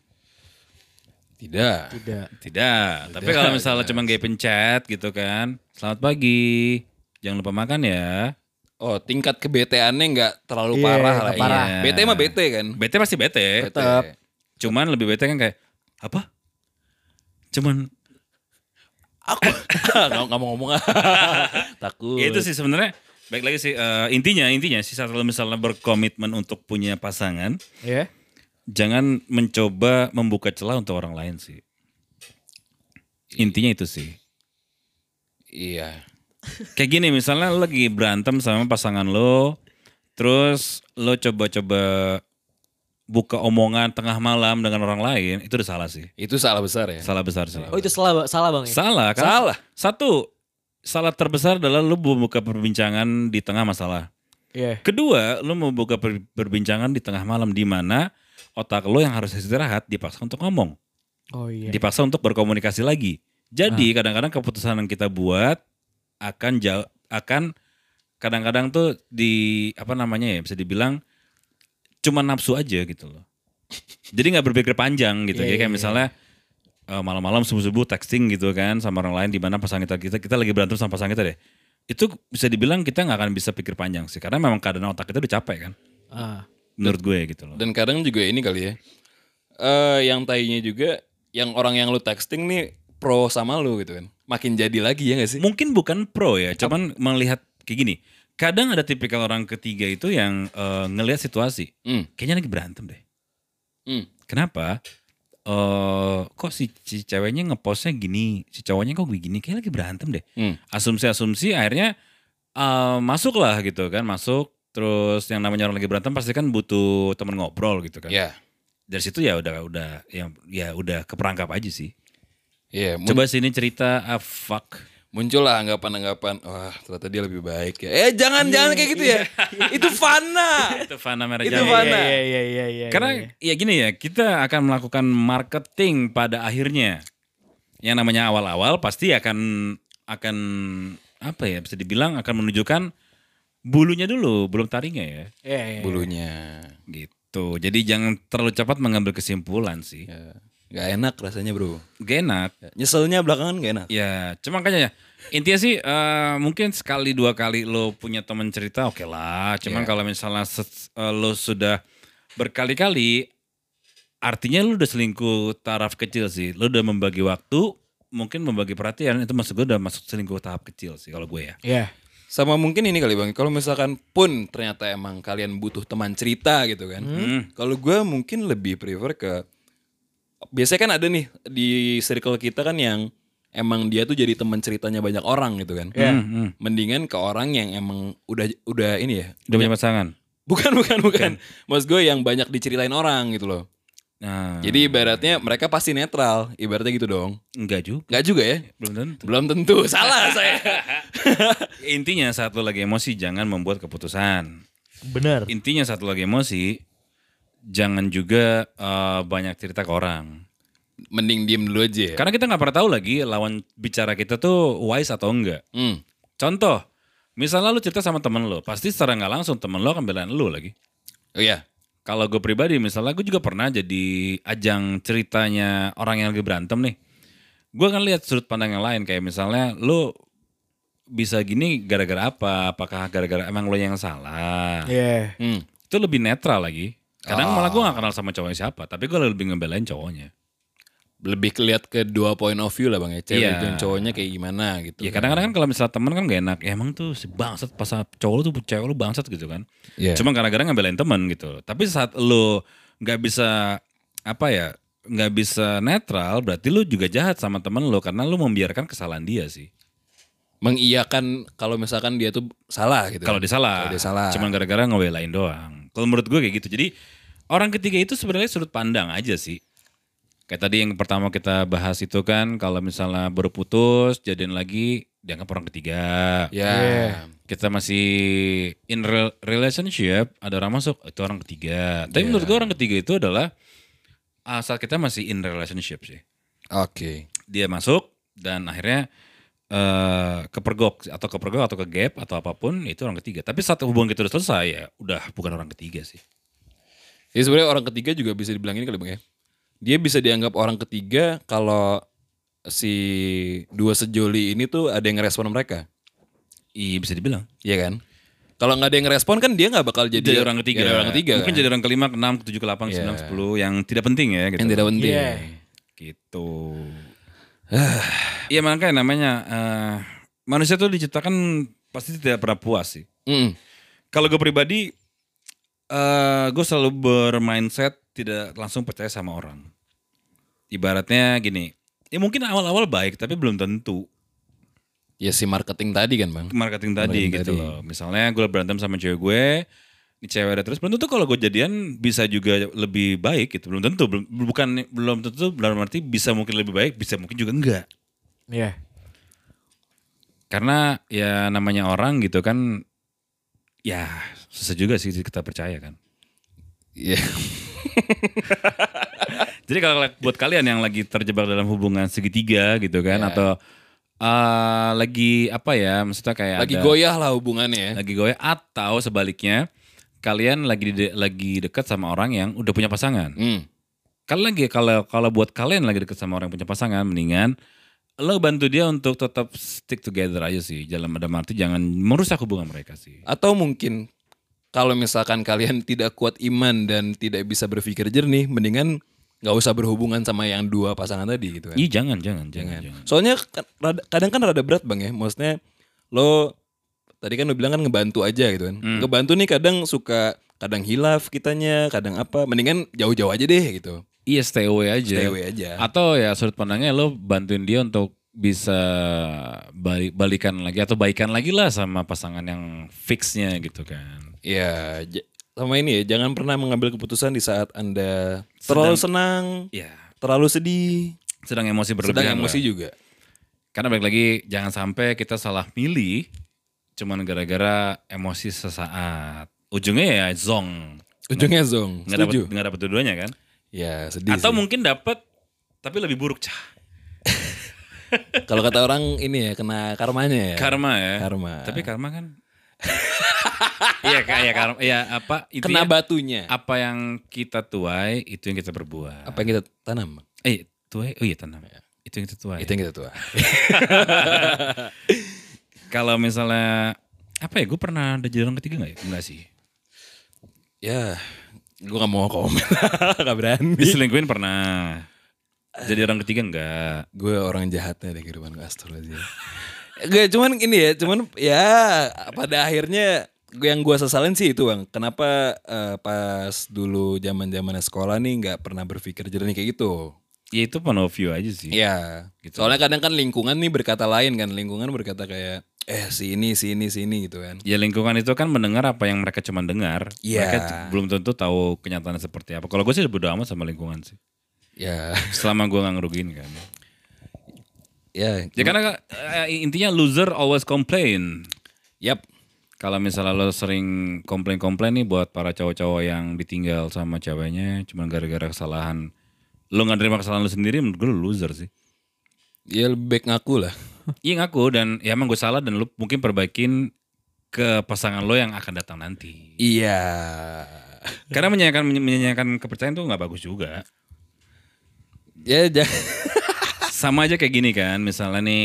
Speaker 2: Tidak.
Speaker 3: Tidak.
Speaker 1: Tidak. Tapi kalau misalnya cuma gapin chat gitu kan. Selamat pagi. Jangan lupa makan ya.
Speaker 2: Oh, tingkat kebeteannya nggak terlalu
Speaker 3: Iya,
Speaker 2: parah
Speaker 3: nggak
Speaker 2: lah. ya.
Speaker 1: parah.
Speaker 2: Bete mah bete kan.
Speaker 1: Bete pasti bete.
Speaker 2: Tetap.
Speaker 1: Cuman lebih bete kan kayak apa? Cuman
Speaker 2: Aku nggak nggak mau ngomong. Takut.
Speaker 1: ya itu sih sebenarnya baik lagi sih eh, intinya intinya sih saat lu misalnya berkomitmen untuk punya pasangan,
Speaker 3: Ya.
Speaker 1: jangan mencoba membuka celah untuk orang lain sih. Intinya itu sih.
Speaker 2: Iya.
Speaker 1: Kayak gini misalnya lo lagi berantem sama pasangan lo, terus lo coba-coba buka omongan tengah malam dengan orang lain, itu udah salah sih.
Speaker 2: Itu salah besar ya.
Speaker 1: Salah besar sih.
Speaker 3: Oh itu salah salah bang ya.
Speaker 1: Salah kan?
Speaker 2: Salah.
Speaker 1: Satu, salah terbesar adalah lo membuka perbincangan di tengah masalah.
Speaker 3: Iya.
Speaker 1: Kedua, lo membuka per- perbincangan di tengah malam di mana otak lo yang harus istirahat dipaksa untuk ngomong,
Speaker 3: Oh iya. Ah.
Speaker 1: dipaksa untuk berkomunikasi lagi. Jadi kadang-kadang keputusan yang kita buat akan jauh akan kadang-kadang tuh di apa namanya ya bisa dibilang cuma nafsu aja gitu loh. Jadi nggak berpikir panjang gitu.
Speaker 3: Iya,
Speaker 1: Jadi kayak
Speaker 3: iya,
Speaker 1: misalnya eh, malam-malam subuh-subuh texting gitu kan sama orang lain di mana pasangan kita, kita kita lagi berantem sama pasangan kita deh. Itu bisa dibilang kita nggak akan bisa pikir panjang sih karena memang keadaan otak kita udah capek kan
Speaker 3: Ah.
Speaker 1: menurut gue gitu loh.
Speaker 2: Dan kadang juga ini kali ya. Eh, yang tainya juga, yang orang yang lu texting nih pro sama lu gitu kan. Makin jadi lagi ya gak sih?
Speaker 1: Mungkin bukan pro ya, cuman melihat kayak gini. Kadang ada tipikal orang ketiga itu yang eh, ngelihat situasi.
Speaker 2: Hmm.
Speaker 1: Kayaknya lagi berantem deh.
Speaker 2: Hmm.
Speaker 1: Kenapa? eh kok si, si ceweknya ngepostnya gini, si cowoknya kok begini, kayak lagi berantem deh.
Speaker 2: Hmm.
Speaker 1: Asumsi-asumsi akhirnya eh masuk lah gitu kan, masuk. Terus yang namanya orang lagi berantem pasti kan butuh teman ngobrol gitu kan.
Speaker 2: Ya.
Speaker 1: Dari situ ya udah udah ya, ya udah keperangkap aja sih.
Speaker 2: Iya, mun-
Speaker 1: Coba sini cerita ah, fuck.
Speaker 2: muncullah anggapan-anggapan, wah ternyata dia lebih baik ya. Eh jangan jangan kayak gitu ya. Itu fana.
Speaker 1: Itu Fana Merah
Speaker 2: Itu
Speaker 1: Jambi.
Speaker 3: Iya
Speaker 2: Fana.
Speaker 3: iya iya iya. iya, iya.
Speaker 1: Karena ya gini ya, kita akan melakukan marketing pada akhirnya. Yang namanya awal-awal pasti akan akan apa ya bisa dibilang akan menunjukkan bulunya dulu, belum taringnya ya.
Speaker 3: Iya, iya.
Speaker 2: Bulunya.
Speaker 1: Gitu. Jadi jangan terlalu cepat mengambil kesimpulan sih.
Speaker 2: Ya. Gak enak rasanya bro.
Speaker 1: Gak enak.
Speaker 2: Ya, Nyeselnya belakangan gak enak.
Speaker 1: Ya, cuma makanya ya. Intinya sih eh, mungkin sekali dua kali lo punya teman cerita oke lah. Cuman kalau misalnya se- eh, lo sudah berkali-kali artinya lo udah selingkuh taraf kecil sih. Lo udah membagi waktu, mungkin membagi perhatian itu maksud gue udah masuk selingkuh tahap kecil sih kalau gue ya.
Speaker 3: Iya.
Speaker 2: Sama mungkin ini kali bang, kalau misalkan pun ternyata emang kalian butuh teman cerita gitu kan. Kalau gue mungkin lebih prefer ke, biasanya kan ada nih di circle kita kan yang emang dia tuh jadi teman ceritanya banyak orang gitu kan.
Speaker 1: Hmm, hmm.
Speaker 2: Mendingan ke orang yang emang udah udah ini ya.
Speaker 1: Udah punya pasangan.
Speaker 2: Bukan bukan bukan. Maksud gue yang banyak diceritain orang gitu loh.
Speaker 1: Nah,
Speaker 2: Jadi ibaratnya mereka pasti netral, ibaratnya gitu dong.
Speaker 1: enggak juga,
Speaker 2: Enggak juga ya?
Speaker 1: belum tentu.
Speaker 2: Belum tentu. Salah saya.
Speaker 1: Intinya saat lo lagi emosi jangan membuat keputusan.
Speaker 3: Benar.
Speaker 1: Intinya saat lo lagi emosi jangan juga eh, banyak cerita ke orang.
Speaker 2: Mending diem dulu aja. ya.
Speaker 1: Karena kita nggak pernah tahu lagi lawan bicara kita tuh wise atau enggak.
Speaker 2: Hmm.
Speaker 1: Contoh, misalnya lu cerita sama temen lo, pasti secara nggak langsung temen lo akan belain lu lagi.
Speaker 2: Oh iya.
Speaker 1: Kalau gue pribadi, misalnya gue juga pernah jadi ajang ceritanya orang yang lagi berantem nih. Gue akan lihat sudut pandang yang lain, kayak misalnya lu bisa gini gara-gara apa? Apakah gara-gara emang lo yang salah?
Speaker 3: Iya.
Speaker 2: Hmm.
Speaker 1: Itu lebih netral lagi. Kadang malah gue gak kenal sama cowoknya siapa, tapi gue lebih ngebelain cowoknya.
Speaker 2: Lebih keliat ke dua point of view lah bang ya. Cewek
Speaker 1: Iya.
Speaker 2: dan cowoknya kayak gimana gitu.
Speaker 1: Ya kadang-kadang kan kalau misalnya temen kan gak enak, ya emang tuh si bangsat pas saat cowok lu tuh cewek lu bangsat gitu kan.
Speaker 2: Iya.
Speaker 1: Cuma kadang-kadang ngebelain temen gitu. Tapi saat lu gak bisa apa ya, gak bisa netral berarti lu juga jahat sama temen lu karena lu membiarkan kesalahan dia sih.
Speaker 2: mengiyakan kalau misalkan dia tuh salah gitu.
Speaker 1: Kalau dia salah,
Speaker 2: Kalau dia salah.
Speaker 1: cuman gara-gara ngebelain doang. Kalau menurut gue kayak gitu. Jadi orang ketiga itu sebenarnya sudut pandang aja sih. Kayak tadi yang pertama kita bahas itu kan kalau misalnya baru putus, jadian lagi dianggap orang ketiga.
Speaker 2: Ya.
Speaker 1: kita masih in rel- relationship ada orang masuk itu orang ketiga tapi
Speaker 2: Ya.
Speaker 1: menurut gue orang ketiga itu adalah ah, saat kita masih in relationship sih
Speaker 2: Oke.
Speaker 1: dia masuk dan akhirnya eh kepergok atau kepergok atau ke gap atau apapun itu orang ketiga tapi saat hubungan kita udah selesai ya udah bukan orang ketiga sih
Speaker 2: Jadi sebenarnya orang ketiga juga bisa dibilangin kali bang ya. Dia bisa dianggap orang ketiga kalau si dua sejoli ini tuh ada yang ngerespon mereka.
Speaker 1: iya bisa dibilang
Speaker 2: Iya kan? Kalau nggak ada yang ngerespon kan dia nggak bakal jadi,
Speaker 1: jadi, orang ketiga
Speaker 2: jadi orang ketiga
Speaker 1: mungkin
Speaker 2: kan?
Speaker 1: jadi orang kelima keenam ketujuh ke
Speaker 2: Iya.
Speaker 1: sembilan sepuluh yang tidak penting ya gitu
Speaker 2: yang tidak penting.
Speaker 3: Iya.
Speaker 1: gitu. Iya makanya namanya eh, manusia tuh diciptakan pasti tidak pernah puas sih.
Speaker 2: Mm-mm.
Speaker 1: Kalau gue pribadi, eh gue selalu bermindset tidak langsung percaya sama orang. Ibaratnya gini, ya mungkin awal-awal baik tapi belum tentu
Speaker 2: Ya si marketing tadi kan bang.
Speaker 1: marketing tadi
Speaker 2: Marketing
Speaker 1: gitu
Speaker 2: tadi.
Speaker 1: loh. Misalnya gue berantem sama cewek gue, ini cewek ada terus belum tentu kalau gue jadian bisa juga lebih baik gitu. Belum tentu, belum bukan belum tentu belum arti bisa mungkin lebih baik, bisa mungkin juga enggak.
Speaker 3: Iya.
Speaker 1: Karena ya namanya orang gitu kan ya susah juga sih kita percaya kan.
Speaker 2: Iya.
Speaker 1: Jadi kalau buat kalian yang lagi terjebak dalam hubungan segitiga gitu kan
Speaker 2: Ya.
Speaker 1: atau eh, lagi apa ya maksudnya kayak
Speaker 2: Lagi
Speaker 1: ada-
Speaker 2: goyah lah hubungannya. ya.
Speaker 1: lagi goyah atau sebaliknya kalian lagi de- lagi dekat sama orang yang udah punya pasangan.
Speaker 2: Mm.
Speaker 1: Kalau lagi kalau kalau buat kalian lagi deket sama orang yang punya pasangan, mendingan lo bantu dia untuk tetap stick together aja sih. Dalam ada arti jangan merusak hubungan mereka sih.
Speaker 2: Atau mungkin kalau misalkan kalian tidak kuat iman dan tidak bisa berpikir jernih, mendingan nggak usah berhubungan sama yang dua pasangan tadi gitu kan.
Speaker 1: Iya jangan jangan jangan. jangan.
Speaker 2: Soalnya kan rada- kadang kan rada berat bang ya, maksudnya lo tadi kan lo bilang kan ngebantu aja gitu kan.
Speaker 1: Hmm.
Speaker 2: Ngebantu nih kadang suka kadang hilaf kitanya, kadang apa, mendingan jauh-jauh aja deh gitu.
Speaker 1: Iya stay away aja.
Speaker 2: Stay away aja.
Speaker 1: Atau ya sudut pandangnya lo bantuin dia untuk bisa balik balikan lagi atau baikan lagi lah sama pasangan yang fixnya gitu kan.
Speaker 2: Ya, j- sama ini ya, jangan pernah mengambil keputusan di saat Anda terlalu senang,
Speaker 1: Ya
Speaker 2: terlalu sedih,
Speaker 1: sedang emosi berlebihan.
Speaker 2: Iya. sedang emosi
Speaker 1: lah.
Speaker 2: juga.
Speaker 1: Karena balik lagi jangan sampai kita salah milih cuman gara-gara emosi sesaat. Ujungnya ya zong.
Speaker 2: Ujungnya zong,
Speaker 1: Nggak dapat
Speaker 2: setuju.
Speaker 1: nggak dapat dua-duanya kan?
Speaker 2: Ya, sedih
Speaker 1: Atau
Speaker 2: sih.
Speaker 1: mungkin dapat tapi lebih buruk cah.
Speaker 2: Kalau kata orang ini ya, kena karmanya ya.
Speaker 1: Karma ya.
Speaker 2: Karma.
Speaker 1: Tapi karma kan. Iya kayak ya, karma. Iya apa intinya
Speaker 2: kena batunya.
Speaker 1: apa yang kita tuai itu yang kita berbuat.
Speaker 2: Apa yang kita tanam?
Speaker 1: Eh tuai oh iya tanam. Itu yang kita tuai.
Speaker 2: Ya. Itu yang kita tua.
Speaker 1: Kalau misalnya apa ya gue pernah ada jalan ketiga nggak ya? Enggak sih.
Speaker 2: ya, gue gak mau komen. gak berani.
Speaker 1: Diselingkuhin pernah. Jadi orang ketiga enggak.
Speaker 2: Gue orang jahatnya deh kehidupan gue astrologi. Gue cuman ini ya, cuman ya pada akhirnya gue yang gue sesalin sih itu bang. Kenapa eh, pas dulu zaman zamannya sekolah nih nggak pernah berpikir jernih kayak gitu.
Speaker 1: Ya itu point of view aja sih.
Speaker 2: Iya. Soalnya kadang kan lingkungan nih berkata lain kan. Lingkungan berkata kayak eh sini sini sini gitu kan.
Speaker 1: Ya lingkungan itu kan mendengar apa yang mereka cuma dengar.
Speaker 2: Iya.
Speaker 1: Mereka t- belum tentu tahu kenyataannya seperti apa. Kalau gue sih bodo amat sama lingkungan sih.
Speaker 2: Ya,
Speaker 1: Selama gue gak ngerugiin kan.
Speaker 2: ya.
Speaker 1: Ya karena eh, intinya loser always complain.
Speaker 2: Yap.
Speaker 1: Kalau misalnya lo sering komplain-komplain nih buat para cowok-cowok yang ditinggal sama ceweknya cuma gara-gara kesalahan. Lo gak nerima kesalahan lo sendiri menurut gue lo loser sih.
Speaker 2: Ya lebih baik ngaku lah.
Speaker 1: Iya ngaku dan ya emang gue salah dan lo mungkin perbaikin ke pasangan lo yang akan datang nanti.
Speaker 2: Iya.
Speaker 1: Karena menyanyikan menyanyikan kepercayaan tuh nggak bagus juga.
Speaker 2: Ya, ja-
Speaker 1: Sama aja kayak gini kan, misalnya nih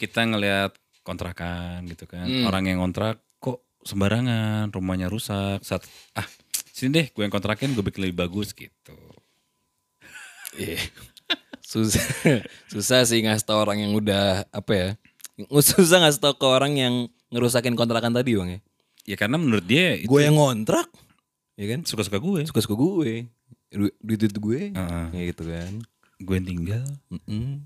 Speaker 1: kita ngelihat kontrakan gitu kan,
Speaker 2: Hmm.
Speaker 1: orang yang kontrak kok sembarangan, rumahnya rusak. Saat ah sini deh, gue yang kontrakin, gue bikin lebih bagus gitu.
Speaker 2: Iya. susah susah sih ngasih tau orang yang udah apa ya susah ngasih tau ke orang yang ngerusakin kontrakan tadi bang ya
Speaker 1: Ya karena menurut dia itu
Speaker 2: gue yang ngontrak ya kan
Speaker 1: suka-suka gue,
Speaker 2: suka suka gue Du- duit duit gue
Speaker 1: Heeh.
Speaker 2: ya gitu kan
Speaker 1: gue yang tinggal.
Speaker 2: Mm-mm.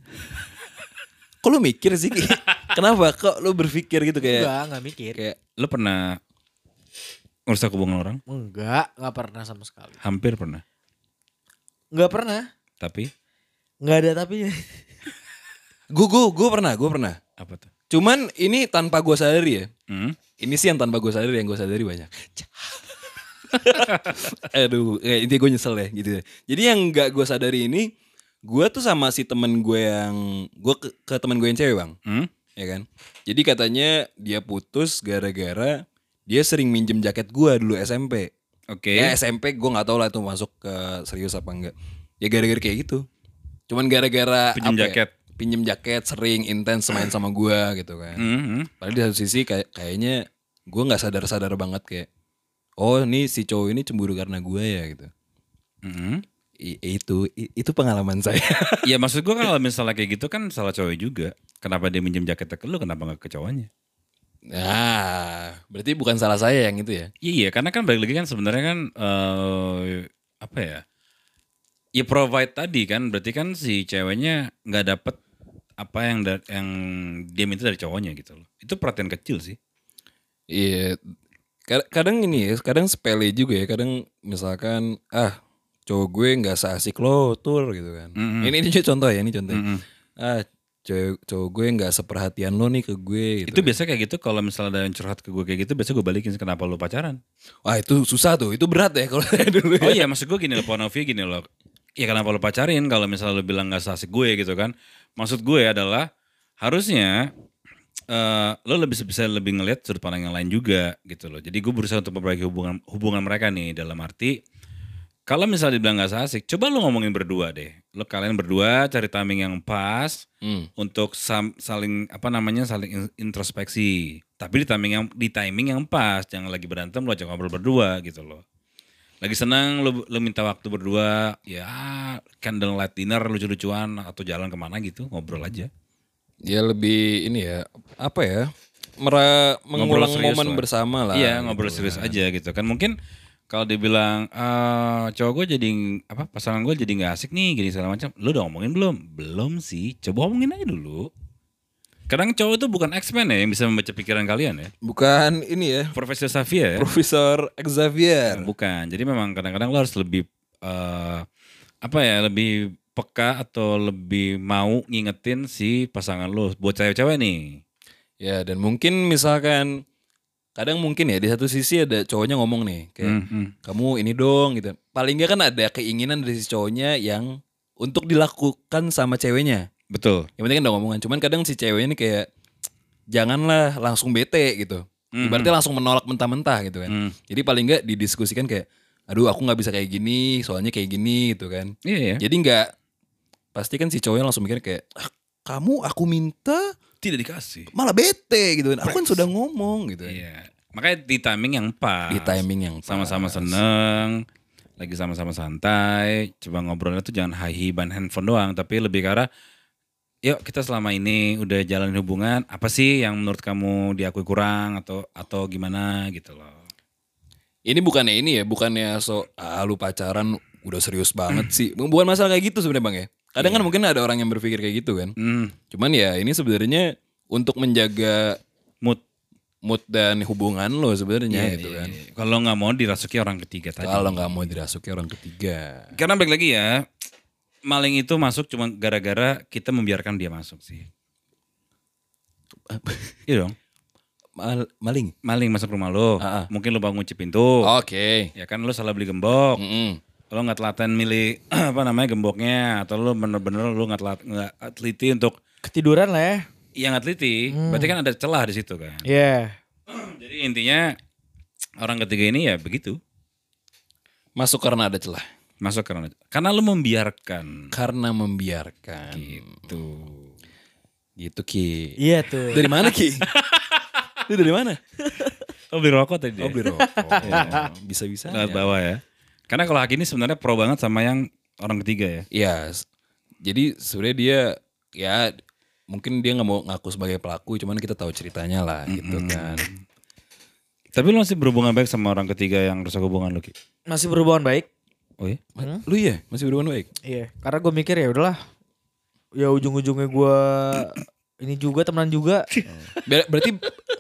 Speaker 2: kok lu mikir sih Ki? kenapa kok lu berpikir gitu kayak
Speaker 3: Enggak, enggak mikir.
Speaker 2: kayak
Speaker 1: Lo pernah ngerusak hubungan orang?
Speaker 3: Enggak, enggak pernah sama sekali.
Speaker 1: Hampir pernah,
Speaker 3: Enggak pernah.
Speaker 1: tapi
Speaker 3: Enggak ada tapi
Speaker 2: gue gue gue pernah gue pernah
Speaker 1: apa tuh?
Speaker 2: cuman ini tanpa gue sadari ya
Speaker 1: Hmm?
Speaker 2: Ini sih yang tanpa gue sadari yang gue sadari banyak. Aduh, eh, intinya gue nyesel deh gitu. Jadi yang nggak gue sadari ini, gue tuh sama si temen gue yang gue ke, ke temen gue yang cewek bang,
Speaker 1: Hmm?
Speaker 2: ya kan. Jadi katanya dia putus gara-gara dia sering minjem jaket gue dulu SMP.
Speaker 1: Oke.
Speaker 2: Ya SMP gue nggak tahu lah itu masuk ke serius apa enggak. Ya gara-gara kayak gitu. Cuman gara-gara
Speaker 1: Pinjem
Speaker 2: apa ya,
Speaker 1: jaket.
Speaker 2: pinjem jaket sering intens main sama gue gitu kan.
Speaker 1: Hmm, hmm.
Speaker 2: Padahal di satu sisi kayak kayaknya gue nggak sadar-sadar banget kayak oh ini si cowok ini cemburu karena gue ya gitu.
Speaker 1: Hmm.
Speaker 2: I- itu i- itu pengalaman saya.
Speaker 1: Ya maksud gue kalau misalnya kayak gitu kan salah cowok juga. Kenapa dia minjem jaketnya ke lu, kenapa gak ke cowoknya?
Speaker 2: nah, berarti bukan salah saya yang itu ya.
Speaker 1: Iya, iya karena kan balik lagi kan sebenarnya kan eh apa ya? Ya provide tadi kan berarti kan si ceweknya nggak dapet apa yang da- yang dia minta dari cowoknya gitu loh. Itu perhatian kecil sih.
Speaker 2: Iya. Kad- Kadang ini ya, kadang sepele juga ya. Kadang misalkan ah cowok gue nggak seasik lo tur gitu kan.
Speaker 1: Mm-mm.
Speaker 2: Ini ini contoh ya, ini contoh.
Speaker 1: Mm-mm.
Speaker 2: Ah cowok, cowok gue nggak seperhatian lo nih ke gue gitu.
Speaker 1: Itu biasa kayak gitu kalau misalnya ada yang curhat ke gue kayak gitu, biasa gue balikin kenapa lu pacaran?
Speaker 2: Wah itu susah tuh, itu berat ya kalau saya dulu.
Speaker 1: Oh iya maksud gue gini loh, point of view gini loh. Ya kenapa lo pacarin kalau misalnya lo bilang gak seasik gue gitu kan. Maksud gue adalah harusnya eh lo lebih bisa lebih ngelihat sudut pandang yang lain juga gitu loh. Jadi gue berusaha untuk memperbaiki hubungan hubungan mereka nih dalam arti kalau misalnya dibilang gak seasik, coba lo ngomongin berdua deh. Lo kalian berdua cari timing yang pas
Speaker 2: Hmm.
Speaker 1: untuk sam- saling apa namanya saling in- introspeksi. Tapi di timing yang di timing yang pas, jangan lagi berantem lo ajak ngobrol berdua gitu loh. Lagi senang lo, lo minta waktu berdua, ya candlelight dinner lucu-lucuan atau jalan kemana gitu ngobrol aja.
Speaker 2: Ya lebih ini ya apa ya mera mengulang
Speaker 1: serius
Speaker 2: momen
Speaker 1: lah.
Speaker 2: bersama lah.
Speaker 1: Iya
Speaker 2: gitu
Speaker 1: ngobrol
Speaker 2: kan.
Speaker 1: serius aja gitu kan mungkin kalau dibilang eh cowok gue jadi apa pasangan gue jadi nggak asik nih gini segala macam lu udah ngomongin belum belum sih coba omongin aja dulu kadang cowok itu bukan X-Men ya yang bisa membaca pikiran kalian ya
Speaker 2: Bukan ini ya,
Speaker 1: Profesor Xavier ya
Speaker 2: Profesor Xavier.
Speaker 1: Nah, bukan jadi memang kadang-kadang lo harus lebih eh apa ya lebih peka atau lebih mau ngingetin si pasangan lo buat cewek-cewek nih
Speaker 2: Ya dan mungkin misalkan kadang mungkin ya di satu sisi ada cowoknya ngomong nih kayak
Speaker 1: Hmm, hmm.
Speaker 2: kamu ini dong gitu. Paling nggak kan ada keinginan dari si cowoknya yang untuk dilakukan sama ceweknya.
Speaker 1: betul
Speaker 2: Yang penting kan udah ngomongan. Cuman kadang si ceweknya ini kayak janganlah langsung bete gitu.
Speaker 1: Mhm.
Speaker 2: Ibaratnya langsung menolak mentah-mentah gitu kan.
Speaker 1: Hmm.
Speaker 2: Jadi paling nggak didiskusikan kayak, aduh aku nggak bisa kayak gini, soalnya kayak gini gitu kan.
Speaker 1: iya ya
Speaker 2: Jadi nggak pasti kan si cowoknya langsung mikir kayak, "Ah, kamu aku minta
Speaker 1: tidak dikasih
Speaker 2: malah bete gitu kan. Aku kan sudah ngomong gitu. kan.
Speaker 1: iya makanya di timing yang pas
Speaker 2: Di timing yang pas.
Speaker 1: sama-sama seneng lagi sama-sama santai coba ngobrolnya tuh jangan hai ban handphone doang tapi lebih ke arah yuk kita selama ini udah jalan hubungan apa sih yang menurut kamu diakui kurang atau atau gimana gitu loh
Speaker 2: Ini bukannya ini ya, bukannya so ah, lu pacaran udah serius banget sih. Bukan masalah kayak gitu sebenarnya Bang ya. Kadang
Speaker 1: Iya.
Speaker 2: kan mungkin ada orang yang berpikir kayak gitu kan.
Speaker 1: hmm,
Speaker 2: Cuman ya ini sebenarnya untuk menjaga
Speaker 1: mood
Speaker 2: mood dan hubungan lo sebenarnya
Speaker 1: Iya,
Speaker 2: gitu
Speaker 1: iya,
Speaker 2: kan.
Speaker 1: iya. kalau nggak mau dirasuki orang ketiga tadi
Speaker 2: Kalau nggak mau dirasuki orang ketiga.
Speaker 1: karena balik lagi ya maling itu masuk cuma gara-gara kita membiarkan dia masuk sih iya dong
Speaker 2: Mal- maling.
Speaker 1: maling masuk rumah lo
Speaker 2: Ah, ah.
Speaker 1: mungkin lo bangun kunci pintu
Speaker 2: Oh. Oke.
Speaker 1: ya kan lo salah beli gembok
Speaker 2: Mm-mm.
Speaker 1: lo nggak telaten milih apa namanya gemboknya atau lo bener-bener lo nggak telat nggak teliti untuk
Speaker 3: Ketiduran lah ya.
Speaker 1: yang nggak teliti berarti kan ada celah di situ kan
Speaker 3: Iya.
Speaker 1: jadi intinya orang ketiga ini ya begitu
Speaker 2: Masuk karena ada celah.
Speaker 1: masuk karena karena lo membiarkan
Speaker 2: Karena membiarkan.
Speaker 1: gitu
Speaker 2: Gitu Ki.
Speaker 3: Iya tuh.
Speaker 2: Dari mana Ki? Itu dari mana?
Speaker 1: lo beli rokok tadi dia?
Speaker 2: Oh beli rokok. Oh, Bisa-bisa.
Speaker 1: lewat bawah ya karena kalau Haki ini sebenarnya pro banget sama yang orang ketiga ya
Speaker 2: Iya. s- Jadi sebenarnya dia ya mungkin dia nggak mau ngaku sebagai pelaku, cuman kita tahu ceritanya lah gitu kan.
Speaker 1: tapi lo masih berhubungan baik sama orang ketiga yang rusak hubungan lo Ki
Speaker 3: Masih berhubungan baik.
Speaker 1: oh iya
Speaker 2: Ma- Lu iya masih berhubungan baik.
Speaker 3: Iya. Karena gue mikir ya udahlah. Ya ujung-ujungnya gue ini juga temenan juga.
Speaker 2: Hmm. Ber- berarti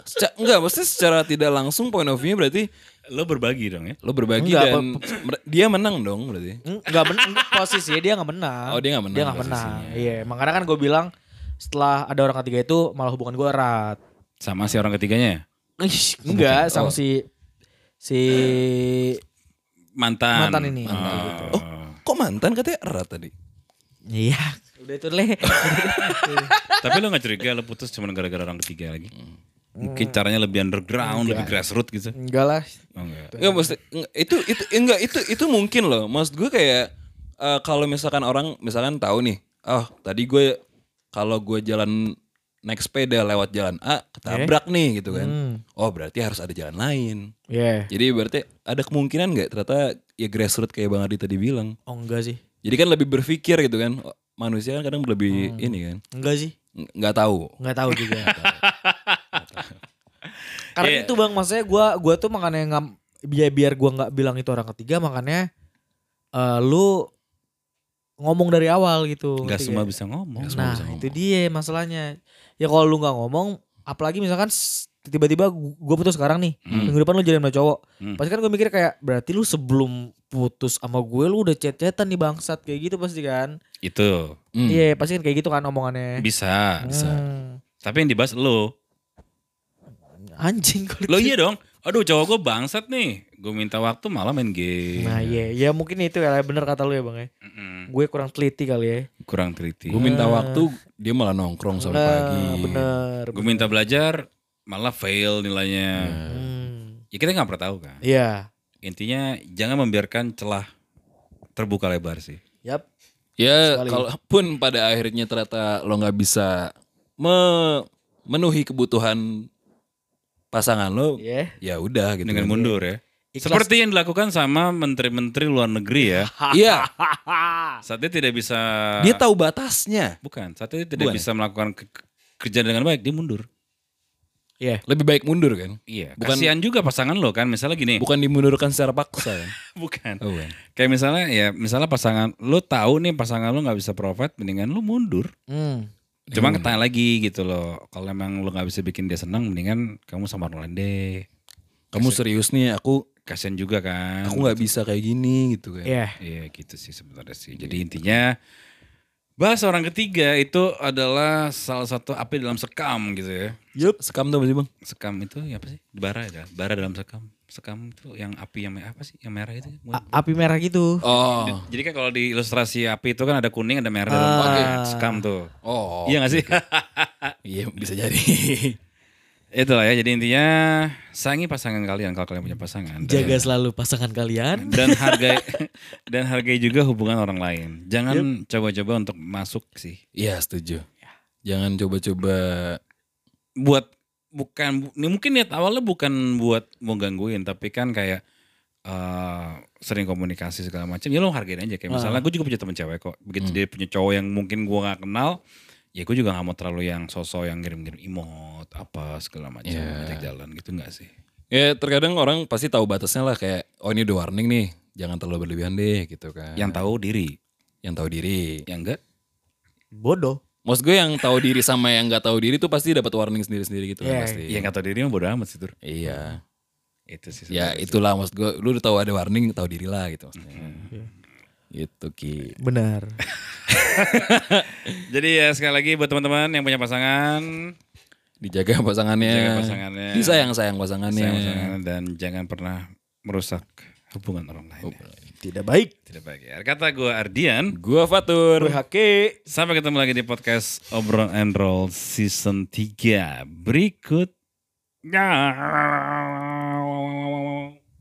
Speaker 2: seca- enggak maksudnya secara tidak langsung point of view berarti
Speaker 1: lo berbagi dong ya
Speaker 2: lo berbagi
Speaker 3: Enggak,
Speaker 2: dan mer- dia menang dong berarti.
Speaker 3: Enggak men enggak, posisinya dia nggak menang.
Speaker 2: Oh, dia nggak menang
Speaker 3: Dia nggak menang.
Speaker 2: posisinya.
Speaker 3: Iya. Makanya kan gue bilang setelah ada orang ketiga itu malah hubungan gue erat.
Speaker 1: sama si orang ketiganya ya?
Speaker 3: Ih, Enggak
Speaker 2: Bukan.
Speaker 3: sama
Speaker 2: Oh.
Speaker 3: si si
Speaker 1: mantan
Speaker 3: Mantan ini. Mantan
Speaker 1: Oh.
Speaker 2: Kok mantan katanya erat tadi?
Speaker 3: Iya. Udah itu leh.
Speaker 1: Tapi lo gak curiga lo putus cuma gara-gara orang ketiga lagi? Mungkin caranya lebih underground, lebih grassroots gitu.
Speaker 3: enggak lah.
Speaker 1: Oh, enggak.
Speaker 2: Enggak maksudnya enggak, itu itu enggak itu itu mungkin loh. Maksud gue kayak eh, kalau misalkan orang misalkan tahu nih, oh tadi gue kalau gue jalan naik sepeda lewat jalan A ketabrak nih gitu kan.
Speaker 3: Hmm.
Speaker 2: Oh berarti harus ada jalan lain.
Speaker 3: Iya.
Speaker 2: Jadi berarti ada kemungkinan nggak ternyata ya grassroots kayak Bang Ardi tadi bilang.
Speaker 3: Oh enggak sih.
Speaker 2: Jadi kan lebih berpikir gitu kan. Oh, Manusia kan kadang lebih ini kan.
Speaker 3: Enggak sih.
Speaker 2: Ng- nggak tahu.
Speaker 3: Enggak tahu juga. Karena itu Bang, maksudnya gua gua tuh makanya nggak biar biar gua nggak bilang itu orang ketiga makanya eh, lu ngomong dari awal gitu.
Speaker 1: Enggak
Speaker 3: ngerti
Speaker 1: semua
Speaker 3: nggak?
Speaker 1: bisa ngomong.
Speaker 2: Nggak semua
Speaker 3: Nah,
Speaker 2: bisa
Speaker 3: itu dia masalahnya. Ya kalau lu nggak ngomong, apalagi misalkan s- tiba-tiba gu- gua putus sekarang nih,
Speaker 1: Hmm.
Speaker 3: minggu depan lu jadi sama cowok.
Speaker 1: Hmm.
Speaker 3: Pasti kan gue mikir kayak berarti lu sebelum putus sama gue lu udah chat-chatan nih bangsat kayak gitu pasti kan.
Speaker 1: Itu
Speaker 2: Hmm.
Speaker 3: Iya, pasti kan kayak gitu kan omongannya.
Speaker 1: bisa.
Speaker 3: Hmm.
Speaker 1: Tapi yang dibahas lo.
Speaker 3: Anjing kalau
Speaker 1: Lo iya dong. Aduh cowok gue bangsat nih. Gue minta waktu malah main game.
Speaker 3: Nah iya, ya mungkin itu ya bener kata lu ya bang ya.
Speaker 1: Mm-mm.
Speaker 3: Gue kurang teliti kali ya.
Speaker 1: Kurang teliti.
Speaker 2: Gue minta waktu dia malah nongkrong sampai pagi.
Speaker 3: Nah, bener.
Speaker 1: Gue minta belajar malah fail nilainya.
Speaker 3: Hmm.
Speaker 1: Ya kita nggak pernah tahu kan.
Speaker 3: Iya.
Speaker 1: Intinya jangan membiarkan celah terbuka lebar sih.
Speaker 3: Yap.
Speaker 2: Ya
Speaker 3: Sekali.
Speaker 2: kalaupun pada akhirnya ternyata lo nggak bisa memenuhi kebutuhan pasangan lo,
Speaker 3: Iya.
Speaker 2: ya udah gitu.
Speaker 1: Dengan
Speaker 2: kan.
Speaker 1: mundur ya.
Speaker 3: Ikhlas.
Speaker 1: Seperti yang dilakukan sama menteri-menteri luar negeri ya.
Speaker 2: Iya,
Speaker 1: Saatnya tidak bisa
Speaker 2: dia tahu batasnya.
Speaker 1: bukan, saatnya tidak
Speaker 2: Bukan
Speaker 1: bisa melakukan ke- ke- kerjaan dengan baik, dia mundur.
Speaker 3: Iya.
Speaker 2: Lebih baik mundur kan?
Speaker 1: Iya,
Speaker 2: Bukan-
Speaker 1: kasihan juga pasangan lo kan. Misalnya gini.
Speaker 2: Bukan dimundurkan secara paksa kan?
Speaker 1: Bukan.
Speaker 2: Oh, bukan.
Speaker 1: Kayak misalnya ya, misalnya pasangan lo tahu nih pasangan lo nggak bisa provide, mendingan lo mundur.
Speaker 3: Hmm.
Speaker 1: Cuma ketanya lagi gitu loh. Kalau emang lo nggak bisa bikin dia senang, mendingan kamu sama orang lain deh.
Speaker 2: Kamu serius nih aku
Speaker 1: Kasihan juga kan.
Speaker 2: aku nggak bisa kayak gini gitu kan.
Speaker 3: Iya.
Speaker 1: Iya gitu sih sebenarnya sih. Jadi intinya bahas orang ketiga itu adalah salah satu api dalam sekam gitu ya.
Speaker 2: Yup, sekam tuh apa sih bang?
Speaker 1: Sekam itu ya apa sih? Bara ya, bara dalam sekam. Sekam itu yang api yang me- apa sih? Yang merah itu. bukan?
Speaker 3: Iya. A- Api merah gitu.
Speaker 2: Oh,
Speaker 1: Jadi kan kalau di ilustrasi api itu kan ada kuning, ada merah, ada
Speaker 3: Ah.
Speaker 1: dalam sekam tuh.
Speaker 2: oh,
Speaker 1: iya gak sih?
Speaker 2: iya bisa jadi.
Speaker 1: Itulah ya, jadi intinya sangi pasangan kalian kalau kalian punya pasangan. Dan-
Speaker 3: Jaga selalu pasangan kalian.
Speaker 1: dan hargai dan hargai juga hubungan orang lain. Jangan coba-coba untuk masuk sih.
Speaker 2: Iya setuju. Jangan coba-coba.
Speaker 1: buat bukan bu- ini mungkin niat awalnya bukan buat mau gangguin tapi kan kayak eh, sering komunikasi segala macam ya lo hargain aja kayak misalnya gue juga punya temen cewek kok begitu dia punya cowok yang mungkin gue nggak kenal ya gue juga nggak mau terlalu yang sosok yang ngirim-ngirim emot apa segala macam ajak jalan gitu nggak sih
Speaker 2: Ya terkadang orang pasti tahu batasnya lah kayak oh ini udah warning nih, jangan terlalu berlebihan deh gitu kan.
Speaker 1: yang tahu diri
Speaker 2: yang tahu diri.
Speaker 1: yang enggak
Speaker 3: Bodoh.
Speaker 2: Maksud gue yang tahu diri sama yang nggak tahu diri tuh pasti dapat warning sendiri-sendiri gitu
Speaker 3: Iya.
Speaker 2: kan pasti.
Speaker 1: yang nggak tahu diri mah bodo amat sih Tur.
Speaker 2: Iya.
Speaker 1: itu sih
Speaker 2: Ya itulah maksud gue, lu udah tahu ada warning, tahu diri lah gitu maksudnya.
Speaker 1: Iya.
Speaker 2: Gitu Ki.
Speaker 3: Benar.
Speaker 1: jadi ya sekali lagi buat teman-teman yang punya pasangan
Speaker 2: Dijaga pasangannya.
Speaker 1: Dijaga pasangannya.
Speaker 2: Disayang-sayang pasangannya.
Speaker 1: sayang pasangan dan jangan pernah merusak hubungan orang lain ya.
Speaker 3: Tidak baik.
Speaker 1: Tidak baik ya. Kata gue Ardian.
Speaker 2: Gua Fatur.
Speaker 3: Hake.
Speaker 1: Sampai ketemu lagi di podcast Obrol and Roll Season 3 berikutnya.